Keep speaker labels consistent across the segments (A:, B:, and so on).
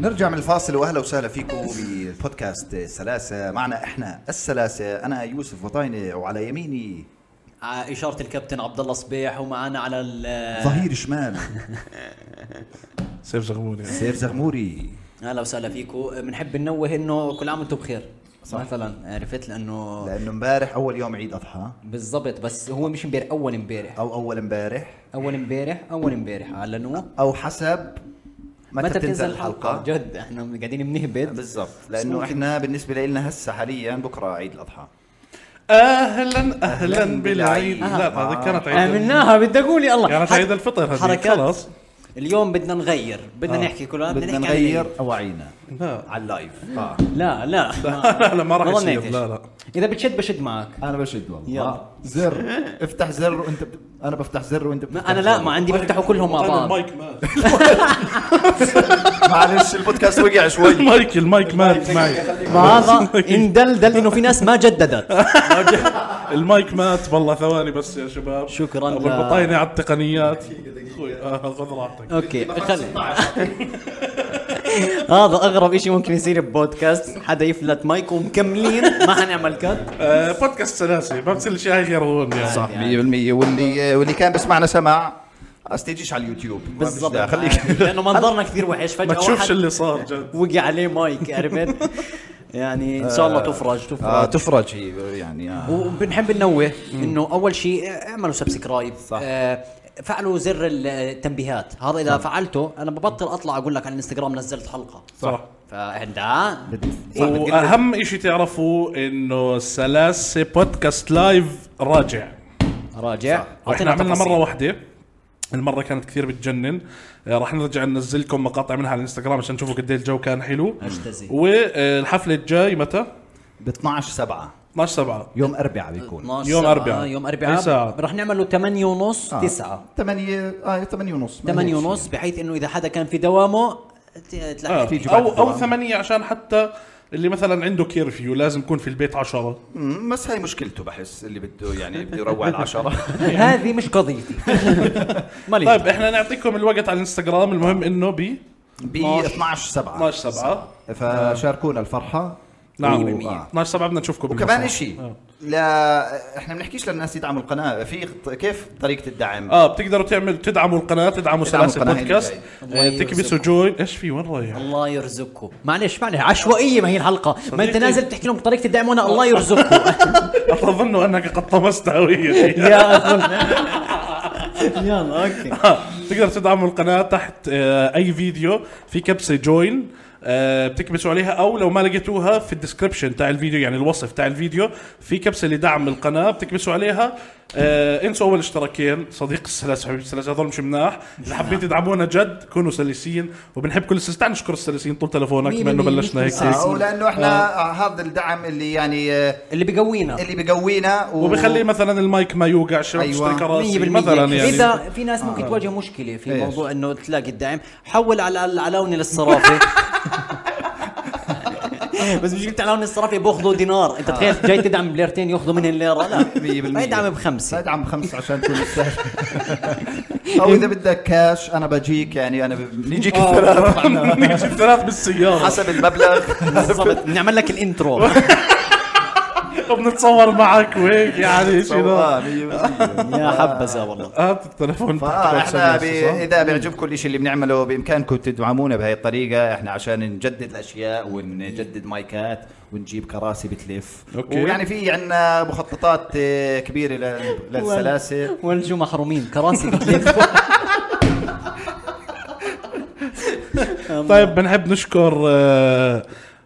A: نرجع من الفاصل واهلا وسهلا فيكم ببودكاست سلاسه معنا احنا السلاسه انا يوسف وطاينه وعلى يميني
B: ع- اشاره آه، الكابتن عبد الله صبيح ومعانا على ال
A: ظهير شمال
C: سيف زغبون يعني
A: سيف زغموري
B: اهلا وسهلا فيكم بنحب ننوه انه كل عام وانتم بخير صح. مثلا عرفت لانه
A: لانه امبارح اول يوم عيد اضحى
B: بالضبط بس هو مش امبارح اول امبارح
A: او اول امبارح
B: اول امبارح اول امبارح اعلنوه
A: او حسب متى, تنزل الحلقه
B: جد احنا قاعدين بنهبد
A: بالضبط لانه احنا بالنسبه لنا هسه حاليا بكره عيد الاضحى
C: اهلا اهلا بالعيد آه.
A: بالعيد.
C: لا هذا كانت عيد
B: عملناها آه، بدي اقول يا الله
C: كانت
B: حت-
C: عيد يعني الفطر هذيك
B: حركات
C: خلاص
B: اليوم بدنا نغير بدنا
C: آه.
B: نحكي كل عام
A: بدنا
B: نحكي عن العيد.
A: نغير اواعينا
C: لا
A: على اللايف اه
B: لا لا
C: لا لا ما راح يصير
B: ظنيتش.
C: لا لا
B: اذا بتشد بشد معك
A: انا بشد والله
B: يلا.
A: آه. زر افتح زر وانت ب... انا بفتح زر وانت
B: ما-
A: بتفتح
B: انا لا
A: زر.
B: ما عندي بفتحوا كلهم مع بعض
C: طيب، المايك مات
A: معلش البودكاست وقع شوي
C: المايك المايك مات معي
B: ما هذا اندلدل انه في ناس ما جددت
C: المايك مات والله ثواني بس يا شباب
B: شكراً
C: ابو
B: ل-
C: البطاينه على التقنيات اخوي آه، خذ راحتك
B: اوكي خلي هذا اغرب شيء ممكن يصير ببودكاست حدا يفلت مايك ومكملين ما حنعمل كات
C: آه، بودكاست سلاسي ما بصير شيء غير هون يعني
A: صح 100% واللي واللي كان بسمعنا سمع بس تيجيش على اليوتيوب ما فيش
B: بالضبط
A: داعي. خليك
B: لانه منظرنا كثير وحش
C: ما
B: فجاه
C: تشوفش
B: واحد
C: اللي صار جد
B: وقع عليه مايك عرفت يعني ان شاء الله تفرج
A: آه
B: تفرج
A: تفرج هي يعني آه.
B: وبنحب ننوه انه اول شيء اعملوا سبسكرايب صح فعلوا زر التنبيهات هذا
A: نعم.
B: اذا فعلته انا ببطل اطلع اقول لك على الانستغرام نزلت حلقه
C: صح
B: فعندها
C: واهم شيء تعرفوه انه سلاسه بودكاست لايف راجع
B: راجع
C: احنا عملنا
B: تفاصيل.
C: مره واحده المره كانت كثير بتجنن آه، راح نرجع ننزل لكم مقاطع منها على الانستغرام عشان تشوفوا قد إيه الجو كان حلو
B: أجتزي.
C: والحفله الجاي متى
A: ب 12 7
C: 12 7
A: يوم اربعاء بيكون
B: 12 نعم،
C: يوم
B: سبعة،
C: أربعاء.
B: يوم
C: أي ساعة؟
B: اربعاء رح نعمله 8 ونص
A: آه.
B: 9
A: 8 اه 8 ونص
B: 8 ونص بحيث انه اذا حدا كان في دوامه ت-
C: آه.
B: تلحق
A: تيجي بعد
C: او او
A: الدوام.
C: 8 عشان حتى اللي مثلا عنده كيرفيو لازم يكون في البيت 10
A: بس هاي مشكلته بحس اللي بده يعني بده يروح على 10
B: هذه مش قضيتي
A: إيه.
B: مالي
C: طيب احنا نعطيكم الوقت على الانستغرام المهم انه ب
A: ب 12 7
C: 12 7
A: فشاركونا الفرحه
C: نعم
A: و- آه.
C: 12 7 بدنا نشوفكم
A: وكمان
C: بالمسرح.
A: شيء لا احنا بنحكيش للناس يدعموا القناه في خط- كيف طريقه الدعم
C: اه بتقدروا تعمل تدعموا القناه تدعموا
A: تدعموا
C: سلاسل
A: القناة اللي
C: بودكاست
B: جاي.
C: آه، تكبسوا جوين ايش في وين رايح؟
B: الله يرزقكم معلش معلش عشوائيه ما هي الحلقه ما انت
C: صديقي.
B: نازل بتحكي لهم بطريقه الدعمونه الله يرزقكم
C: اظن انك قد طمست هويتي
B: يا أظن. يلا اوكي
C: تقدر تدعموا القناة تحت آه، أي فيديو في كبسة جوين آه، بتكبسوا عليها او لو ما لقيتوها في الديسكربشن تاع الفيديو يعني الوصف تاع الفيديو في كبسه لدعم القناه بتكبسوا عليها آه انسوا اول اشتراكين صديق السلاسل حبيب السلاسل هذول مش مناح اذا حابين تدعمونا جد كونوا سلسيين وبنحب كل السلسلة تعال نشكر السلسيين طول تلفونك
B: مية
C: بما انه
B: بالمية.
C: بلشنا هيك
A: آه ولانه احنا آه. هذا الدعم اللي يعني آه
B: اللي بيقوينا
A: اللي بقوينا و...
C: وبخلي مثلا المايك ما يوقع شباب
A: أيوة.
C: تشتري كراسي
B: 100%
C: مثلا يعني
B: اذا في ناس ممكن تواجه مشكله في
A: إيش؟
B: موضوع انه تلاقي الدعم حول على العلاوني للصرافه بس مش جبت علاوني للصرافه بياخذوا دينار انت تخيل جاي تدعم بليرتين ياخذوا منهم ليره لا
A: 100%.
B: ما يدعم بخمسه
A: ادعم بخمسة عشان تكون مستاهل او اذا بدك كاش انا بجيك يعني انا ب- بنيجيك
C: آه.
A: الثلاث معنا.
C: نيجي ثلاث بالسياره
A: حسب المبلغ
B: بالضبط نعمل لك الانترو
C: وبنتصور معك وهيك يعني شنو
A: آه، مية آه، بالمية.
B: يا حبذا والله
C: هات التلفون آه، تحت
A: فاحنا ب...
C: السلاسل، صح؟
A: اذا بيعجبكم الشيء اللي بنعمله بامكانكم تدعمونا بهي الطريقه احنا عشان نجدد الاشياء ونجدد مايكات ونجيب كراسي بتلف
C: أوكي.
A: ويعني في عندنا مخططات آه، كبيره لل... للسلاسل
B: ونجو محرومين كراسي بتلف
C: طيب بنحب نشكر آه،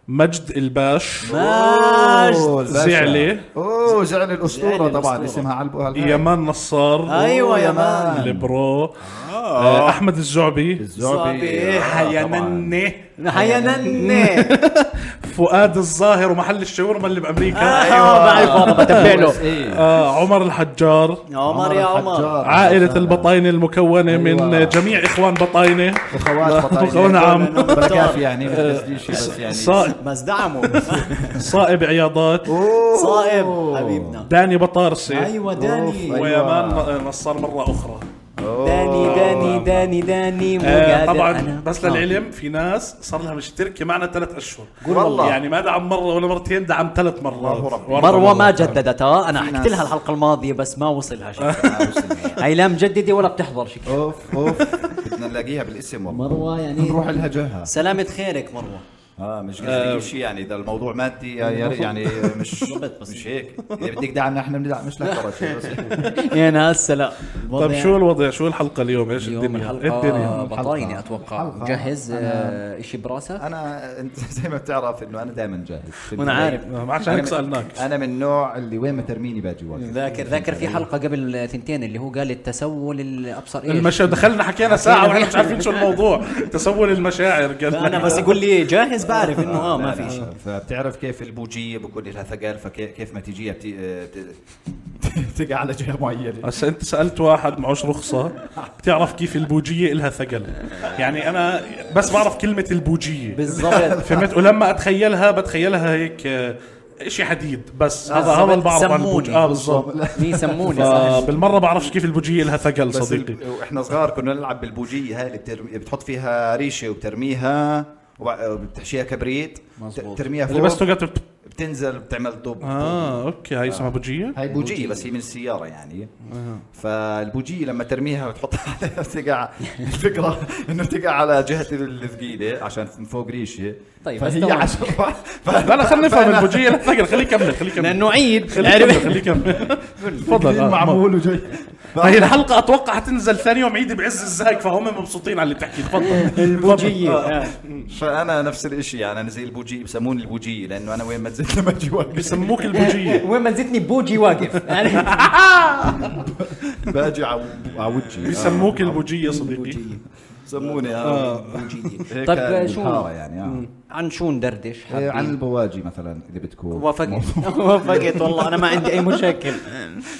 C: مجد الباش
B: ماجد.
A: أوه، الباشا.
C: زعلي.
A: اوه زعل
B: زعل
A: الاسطوره
B: الأسطورة.
A: طبعا اسمها على البو- على الهاي.
C: يمان نصار
A: أيوة.
B: ايوه يا مان
C: البرو آه، احمد الزعبي
A: الزعبي
C: حيا
A: آه، طبعاً.
C: مني
B: حيا نني
C: فؤاد الظاهر ومحل الشاورما اللي
A: آه.
C: بامريكا
A: أيوة.
B: ايوه بعرف هذا بتبع له
A: إيه.
C: آه، عمر الحجار
B: أيوة. عمر يا عمر
A: الحجار.
C: عائلة البطاينة المكونة
A: آه. أيوة.
C: من جميع إخوان بطاينة
A: اخوات
C: أخوان عم.
B: أيوة،
A: بركات يعني ما بتقصديش بس يعني
C: صا-
B: بس دعموا
C: صائب عياضات
A: أوه.
B: صائب حبيبنا
C: داني بطارسي
B: ايوه
A: أوف،
B: داني
A: أيوة.
C: ويمان نصار مرة أخرى
B: داني
A: آه،
B: داني داني داني مو
C: آه
B: قادر
C: طبعا
B: أنا.
C: بس
B: آه.
C: للعلم في ناس صار لها مشتركه معنا ثلاث اشهر
A: قول والله.
C: يعني ما دعم مره ولا مرتين دعم ثلاث
A: الله
C: مرات
A: ربي.
C: والله
B: مروه ما
C: والله.
B: جددتها انا
A: في
B: حكيت
A: ناس-
B: لها الحلقه
C: آه.
B: الماضيه بس ما وصلها شكلها
A: آه،
B: هي لا مجدده ولا بتحضر شكلها
A: اوف اوف بدنا نلاقيها بالاسم والله
B: مروه يعني
A: نروح لها جهه
B: سلامة خيرك مروه
A: اه مش
B: آه.
A: قصدي شيء يعني اذا الموضوع مادي يا- يا- يعني مش
B: بالضبط، بس-
A: مش هيك اذا بدك دعم نحن بندعم مش لك شيء بس
B: يا ناس سلام
C: طب طيب، شو الوضع شو الحلقه اليوم ايش
B: يعني اليوم
C: الدنيا
B: الحلقه
C: إيه الدنيا
B: بطاينه
A: الحلقة.
B: اتوقع
A: الحلقة.
B: جاهز آه، اشي براسك
A: انا انت زي ما بتعرف انه انا دائما جاهز في
B: وانا
A: البداية.
B: عارف
C: آه، ما عشان هيك
A: أنا من-
C: سالناك
B: آه،
A: انا من النوع اللي وين ما ترميني باجي واقف
B: ذاكر ذاكر في حلقه قبل ثنتين اللي هو قال التسول الابصر ايش
C: المشا دخلنا حكينا ساعه واحنا مش عارفين شو الموضوع تسول المشاعر قال
B: فانا بس يقول لي جاهز بعرف انه
C: آه،
B: اه ما
A: آه، لا،
B: في
A: لا،
B: شيء
A: فبتعرف كيف البوجيه بكون لها ثقل فكيف ما تيجيها بتي... بتقع على جهه معينه
C: هسا انت سالت واحد معوش رخصه بتعرف كيف البوجيه إلها ثقل يعني انا بس بعرف كلمه البوجيه
B: بالضبط
C: فهمت ولما اتخيلها بتخيلها هيك آه، اشي حديد بس
B: آه،
C: هذا هذا اللي بعرف عن
B: سموني.
C: البوجيه اه بالضبط
B: مي سموني صح
C: فبالمره بعرفش كيف البوجيه إلها ثقل
A: بس
C: صديقي
A: ال- واحنا صغار كنا نلعب بالبوجيه هاي اللي بترمي... بتحط فيها ريشه وبترميها وبع- وبتحشيها كبريت
B: مزبوط.
A: بترميها
C: اللي بس
A: فوق
C: تقعد تت-
A: بتنزل بتعمل طب
C: اه اوكي هاي اسمها بوجيه
A: هاي بوجيه بس هي من السياره يعني
C: آه.
A: فالبوجيه لما ترميها وتحطها عليها بتقع الفكره انه بتقع على جهه الثقيله عشان من فوق ريشه
B: طيب، بس
A: فهي
B: تمام.
A: عشان
C: لا لا خلينا نفهم البوجيه إلها ثقل خليه يكمل خليه يكمل
B: لانه عيد
C: خليه يكمل
B: عرفت
C: خليه يكمل تفضل آه،
A: معمول وجاي
C: هي الحلقة اتوقع حتنزل ثاني يوم عيد بعز الزهق فهم مبسوطين على اللي بتحكي تفضل
B: البوجيه
C: تفضل. آه.
B: آه.
A: فانا نفس الشيء يعني انا زي البوجيه بسموني البوجيه لانه انا وين ما نزلت لما اجي واقف
C: بسموك البوجية
B: آه. وين ما نزلتني بوجي واقف يعني
A: باجي على وجهي
C: بسموك البوجية صديقي
A: آه. سموني اه هيك
B: طب شو-
A: الحارة يعني آه.
B: عن شو ندردش
A: إيه، عن
B: حابين
A: البواجي مثلا اذا بدكم
B: وافقت وافقت والله انا ما عندي اي مشاكل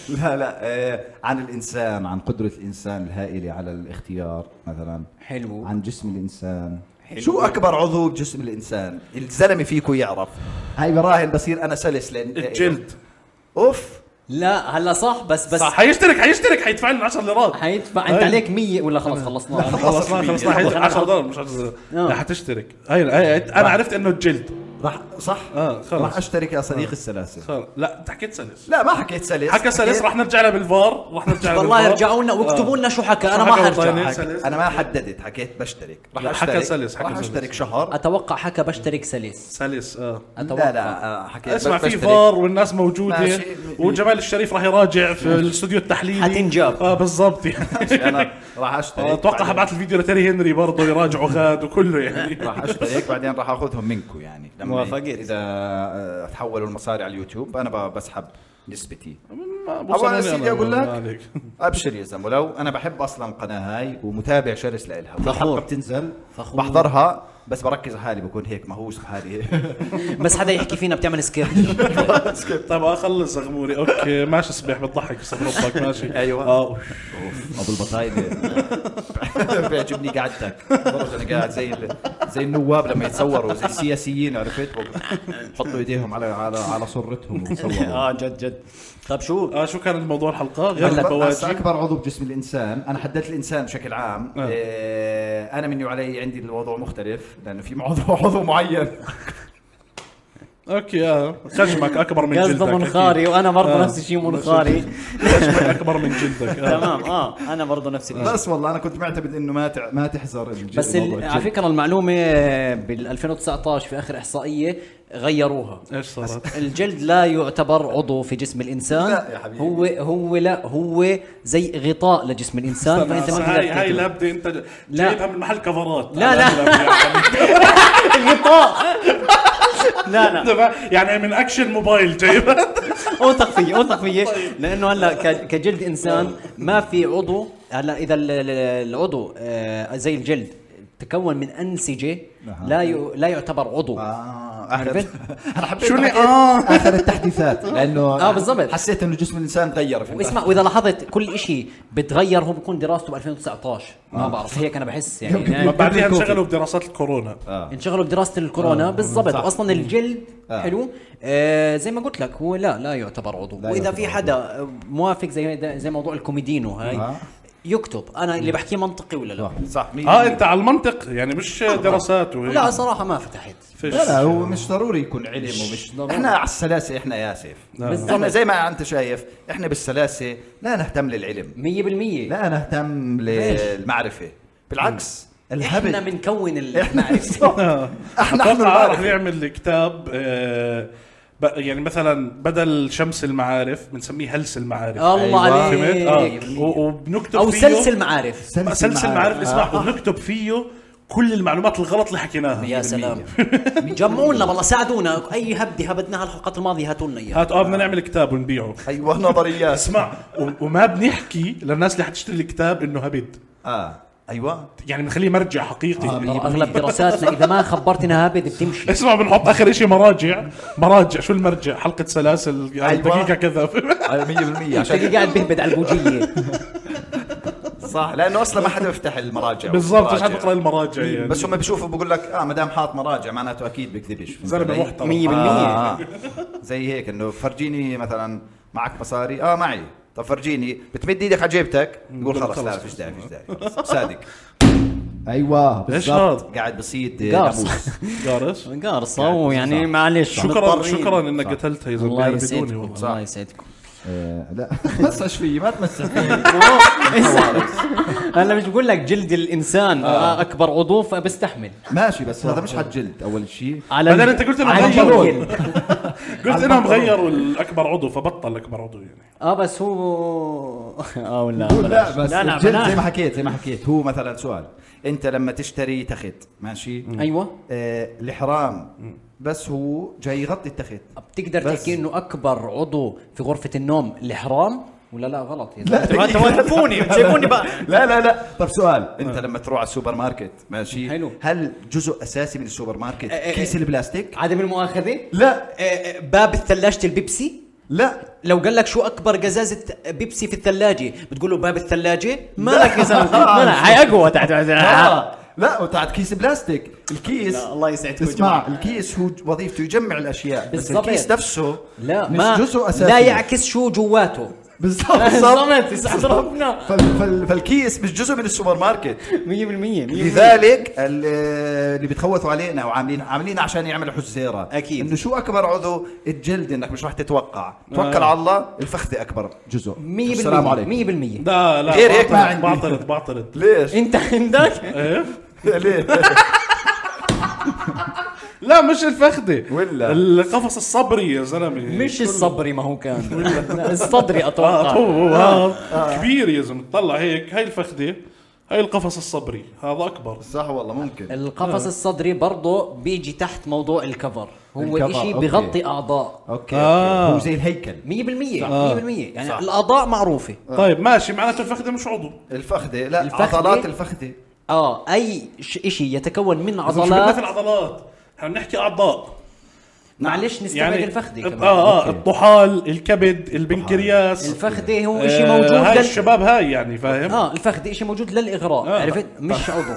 A: لا لا آه، عن الانسان عن قدره الانسان الهائله على الاختيار مثلا
B: حلو
A: عن جسم الانسان شو اكبر عضو بجسم الانسان الزلمه فيكو يعرف هاي براهن بصير انا سلس لان
C: الجلد
A: اوف
B: لا هلا صح بس بس
C: صح إيه. حيشترك حيشترك حيدفع لنا 10 ليرات
B: حيدفع انت
C: أي.
B: عليك 100 ولا خلص خلصناها
C: خلصنا خلصنا حيدفع 10 دولار مش 10 دولار
B: آه.
C: لا حتشترك أيوة، هاي هاي- انا عرفت انه الجلد
A: راح صح
C: آه، خلص. آه.
A: راح اشترك يا صديقي السلاسل
B: طيب.
C: خلص. لا انت حكيت سلس
A: لا ما حكيت سلس
C: حكى سلس رح نرجع لها بالفار رح نرجع لها
B: والله
C: بالفار.
B: ارجعوا لنا واكتبوا لنا شو حكى انا
C: شو
B: ما
C: يعني آه.
B: حرجع
C: حكى والله؟
A: حكيت-
C: سلس.
A: انا ما حددت حكيت بشترك راح
C: لا،
A: اشترك
C: حكى سلس، حكى
A: راح
C: سلس.
A: اشترك شهر
B: اتوقع حكى بشترك سلس
C: سلس اه
A: لا
B: اتوقع
A: لا آه، حكيت
C: اسمع في
A: بشترك.
C: فار والناس موجوده
A: ماشي.
C: وجمال الشريف راح يراجع في الاستوديو التحليلي
B: حتنجاب.
C: اه بالضبط يعني
A: انا راح اشترك
C: اتوقع
A: بعدين.
C: حبعت الفيديو لتيري هنري برضه يراجعوا غاد وكله يعني
A: راح اشترك بعدين راح اخذهم منكم يعني لما
B: موافقة.
A: اذا آه، تحولوا المصاري على اليوتيوب انا ب- بسحب نسبتي
C: ما
A: أبو أنا
C: بوصلني
A: سيدي
C: أنا،
A: أقول
C: ما
A: لك.
C: عليك.
A: ابشر يا زلمه لو انا بحب اصلا القناه هاي ومتابع شرس لإلها
B: فخور.
A: والحلقه بتنزل
B: فخور.
A: بحضرها بس بركز على حالي بكون هيك مهووس بحالي
B: بس حدا يحكي فينا بتعمل سكيب
C: طب اخلص طيب، غموري اوكي ماشي صبيح بتضحك بس ربك ماشي
A: أيوة.
C: آه.
A: أوف، ابو البطاينه بيعجبني قعدتك برضه انا قاعد زي ال- زي النواب لما يتصوروا زي السياسيين عرفت بحطوا ايديهم على على على صرتهم وبصوروا
C: آه،
B: اه جد جد طب شو
C: اه شو كان الموضوع الحلقه غير
A: هلا هسا
C: البواجي
A: اكبر عضو بجسم الانسان انا حددت الانسان بشكل عام
C: آه.
A: إيه انا مني وعلي عندي الموضوع مختلف لانه في عضو عضو معين
C: اوكي اه خشمك اكبر من جلدك
B: قصده
C: أكيد.
B: منخاري وانا برضه
C: آه.
B: نفس الشيء منخاري
C: خشمك اكبر من جلدك آه.
B: تمام اه انا برضه نفس الشيء
A: بس والله انا كنت معتمد انه ما تع- ما تحزر الج-
B: بس
A: آه. موضوع
B: ال-
A: الجلد.
B: على فكره المعلومه بال 2019 في اخر احصائيه غيروها
C: ايش صارت؟
B: الجلد لا يعتبر عضو في جسم الانسان
A: لا يا حبيبي.
B: هو هو لا هو زي غطاء لجسم الانسان فانت ما
C: هاي هاي
B: تقدر
C: لابده انت ج-
B: لا.
C: جايبها من محل كفرات
B: لا،
C: يعني.
B: لا. غطاء لا لا
C: يعني من اكشن موبايل جايبها
B: اوثق فيي اوثق فيي
A: طيب.
B: لانه هلا ك- كجلد انسان ما في عضو هلا اذا ال- ال- العضو آه، زي الجلد تكون من انسجه
A: نعم.
B: لا ي- لا يعتبر عضو
A: اه
B: عرفت؟
A: عرفت انا حبيت
C: شو اللي-
A: أحكي
C: آه.
A: اخر التحديثات لانه
B: آه، بالضبط.
A: حسيت انه جسم الانسان تغير في
B: واسمع واذا لاحظت كل شيء بتغير هو بكون دراسته ب 2019 ما بعرف هيك انا بحس يعني يعني
C: بعدين انشغلوا بدراسات الكورونا
A: آه.
B: انشغلوا بدراسه الكورونا بالضبط اصلا الجلد حلو آه زي ما قلت لك هو لا لا يعتبر عضو
A: لا
B: واذا
A: يعتبر
B: في حدا موافق زي زي موضوع الكوميدينو هاي
A: آه.
B: يكتب انا اللي بحكيه منطقي ولا لا
A: صح
C: اه انت على المنطق يعني مش دراسات وهيك
B: أه. لا صراحه ما فتحت
C: فيش
A: لا لا هو مش ضروري يكون علم ومش ضروري احنا على السلاسه احنا ياسف
B: بالضبط.
A: احنا زي ما انت شايف احنا بالسلاسه لا نهتم للعلم
B: 100% لا
A: لا نهتم للمعرفه بالعكس الهبل
B: احنا بنكون ال-
A: احنا
C: آه.
A: احنا احنا
C: اتوقع رح
A: المعرفة.
C: نعمل كتاب آه، ب- يعني مثلا بدل شمس المعارف بنسميه هلس المعارف
B: الله إيه.
C: فهمت؟
B: عليك
C: اه و- وبنكتب
B: او
C: فيه-
B: سلسل معارف
C: سلسل معارف اسمع
A: آه.
C: وبنكتب فيه كل المعلومات الغلط اللي حكيناها يعني
B: يا سلام جمعوا لنا والله ساعدونا اي هبده هبدناها الحلقات الماضيه هاتوا لنا اياها
C: هات اه
A: آه.
C: بدنا نعمل كتاب ونبيعه
A: ايوه نظريات
C: اسمع و- وما بنحكي للناس اللي حتشتري الكتاب انه هبد
A: اه ايوه
C: يعني بنخليه مرجع حقيقي
A: آه،
B: اغلب دراساتنا اذا ما خبرتنا هابد بتمشي
C: اسمع بنحط اخر شيء مراجع مراجع شو المرجع حلقه سلاسل يعني
A: أيوة.
C: دقيقه كذا
A: 100%
B: تلاقيه
A: آه، عشان
B: قاعد بهبد على البوجيه
A: صح لانه اصلا ما حدا بيفتح المراجع
C: بالضبط مش
A: والمراجع.
C: حد بقرا المراجع يعني
A: بس هم بيشوفوا بقول لك اه ما دام حاط مراجع معناته اكيد بكذبش
C: زلمه محترم
B: 100%
A: آه آه. زي هيك انه فرجيني مثلا معك مصاري اه معي طب فرجيني بتمد ايدك على جيبتك بقول خلص لا فيش داعي فيش داعي خلص. صادق
D: ايوه
C: ايش
D: بالظبط
C: هذا
A: قاعد بصيد
B: قارص.
A: ناموس
C: يعني. جارس
B: قارصه ويعني معلش
C: شكرا
A: يعني مضطرين.
C: شكرا انك قتلتها يا زلمه
B: يعني الله
C: بدوني
B: يسعدكم
C: والله
B: الله يسعدكم
D: آه، لا ما تمسش فيي ما تمسش فيي
B: هلا مش بقول لك جلد آه، الانسان اكبر عضو فبستحمل
D: ماشي بس هذا مش حد جلد اول شيء
B: على
C: بعدين أنت قلت إنه
B: على
C: مغير.
B: الجلد.
C: قلت انهم غيروا الاكبر عضو فبطل اكبر عضو يعني
B: اه بس هو اه لا بلاش.
D: لا بس
B: لا لا
D: الجلد زي ما
B: بلاش.
D: حكيت زي ما حكيت
A: هو مثلا سؤال انت لما تشتري تخت ماشي
B: ايوه
A: آه الحرام بس هو جاي يغطي التخت
B: بتقدر
A: بس.
B: تحكي انه اكبر عضو في غرفه النوم الحرام ولا لا غلط يا زلمة؟
A: لا،
B: انتوا تلفوني شايفوني بقى آه.
A: لا لا لا طب سؤال انت لما تروح على السوبر ماركت ماشي
B: حلو.
A: هل جزء اساسي من السوبر ماركت
B: آه، آه،
A: كيس البلاستيك
B: عدم المؤاخذه
A: لا
B: آه، آه، باب الثلاجه البيبسي
A: لا
B: لو قال لك شو اكبر قزازه بيبسي في الثلاجه بتقول له باب الثلاجه مالك يا زلمه مالك هاي اقوى تحت
A: آه. لا وتعت كيس بلاستيك الكيس
B: لا، الله يسعدكم يا
A: اسمع
B: جماعة.
A: الكيس هو وظيفته يجمع الاشياء بس
B: بالضبط.
A: الكيس نفسه
B: لا
A: مش
B: ما
A: جزء اساسي
B: لا يعكس شو جواته
A: بالضبط
B: بالضبط، يسعد ربنا.
A: فال- فال- فالكيس مش جزء من السوبر ماركت
B: 100% 100%
A: لذلك ال- اللي بتخوثوا علينا وعاملين عاملين عشان يعملوا حزيره
B: أكيد.
A: انه شو اكبر عضو الجلد انك مش راح تتوقع توكل على الله الفخذ اكبر جزء
B: 100%
A: السلام عليكم
B: 100%
C: لا لا
A: غير هيك ما
C: بعترض-
A: عندي.
C: بعترض بعترض
A: ليش؟
B: انت عندك
C: ايه
A: ليه؟
C: لا مش الفخده
A: ولا.
C: القفص الصبري يا زلمه
B: مش آه. الصبري ما هو كان لا، الصدري
C: اه
B: اتوقع
C: طو- آه. كبير يا زلمه طلع هيك هاي الفخده هاي القفص الصبري هذا اكبر
A: صح والله ممكن
B: القفص الصدري برضه بيجي تحت موضوع الكفر هو
A: الكفر،
B: شيء
A: أوكي.
B: بغطي اعضاء 100%
A: اوكي
C: آه.
A: آه. هو زي الهيكل
B: 100% يعني الاعضاء معروفه
C: طيب ماشي معناته الفخده مش عضو
A: الفخذه لا
B: الفخذة؟
A: عضلات الفخذه
B: اه اي شيء يتكون من
C: بس مش مثل
B: عضلات
C: عضلات احنا بنحكي اعضاء
B: معلش نستبعد
C: يعني
B: الفخذه
C: اه
B: كمان
C: اه الطحال الكبد البنكرياس
B: الفخذه هو
C: آه،
B: شيء موجود
C: هاي
B: لل...
C: الشباب هاي يعني فاهم
B: اه الفخذه شيء موجود للاغراء
C: آه.
B: عرفت مش عضو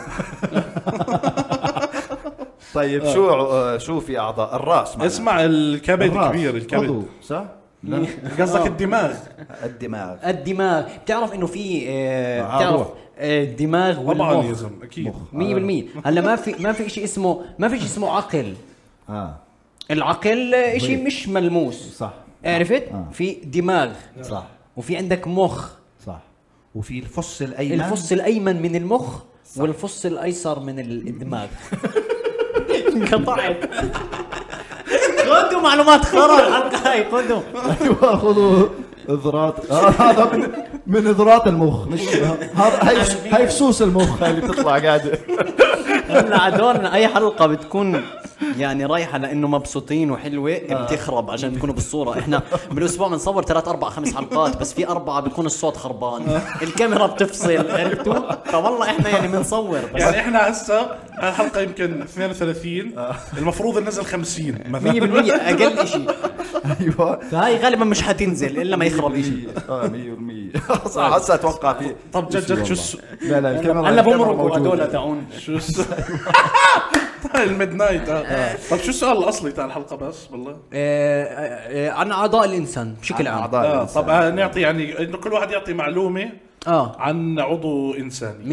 A: طيب شو آه، شو في اعضاء الراس معنا.
C: اسمع الكبد
D: الراس،
C: كبير
D: عضو،
C: الكبد
A: صح
C: قصدك
B: آه.
C: الدماغ
A: الدماغ
B: الدماغ بتعرف انه في آه
A: آه،
B: بتعرف
A: روح.
B: آه الدماغ
C: طبعا يا
B: والمخ
C: زلمه اكيد
B: 100% هلا ما في ما في شيء اسمه ما في شيء اسمه عقل
A: آه،
D: اه
B: العقل
A: طيب.
B: شيء مش ملموس
D: صح.
B: عرفت
D: آه.
B: في دماغ
A: صح
B: وفي عندك مخ
D: صح
A: وفي الفص الايمن
B: الفص الايمن من المخ والفص الايسر من الدماغ انقطعت خذوا معلومات خرا الحلقه هاي خذوا
A: أيوة،
D: ايوه خذوا اذرات آه، هذا من- من اذرات المخ مش هذا هاي فس- هاي فصوص المخ هاي اللي بتطلع قاعده
B: هلا عدولنا اي حلقه بتكون يعني رايحه لانه مبسوطين وحلوه بتخرب عشان تكونوا بالصوره احنا بالاسبوع بنصور ثلاث اربع خمس حلقات بس في اربعه بيكون الصوت خربان الكاميرا بتفصل عرفتوا فوالله احنا يعني بنصور بس
C: يعني احنا هسه الحلقه يمكن
A: آه.
C: 32 المفروض ننزل 50 مثلا
B: 100% اقل شيء
A: ايوه
B: فهاي غالبا مش حتنزل الا ما يخرب شيء
A: اه 100% صح هسه اتوقع في
C: طب جد جد شو الس-
D: لا لا الكاميرا
B: هلا
D: الكاميرا
B: بمرقوا
D: موجودة.
B: هدول تاعون
C: شو الس- الميد نايت آه. طب شو السؤال الاصلي تاع الحلقه بس والله
A: آه،
B: آه، عن اعضاء الانسان بشكل
A: عن
B: عام
A: أعضاء
C: اه
A: الإنسان.
C: آه، طب آه، نعطي يعني انه كل واحد يعطي معلومه
B: اه
C: عن عضو انساني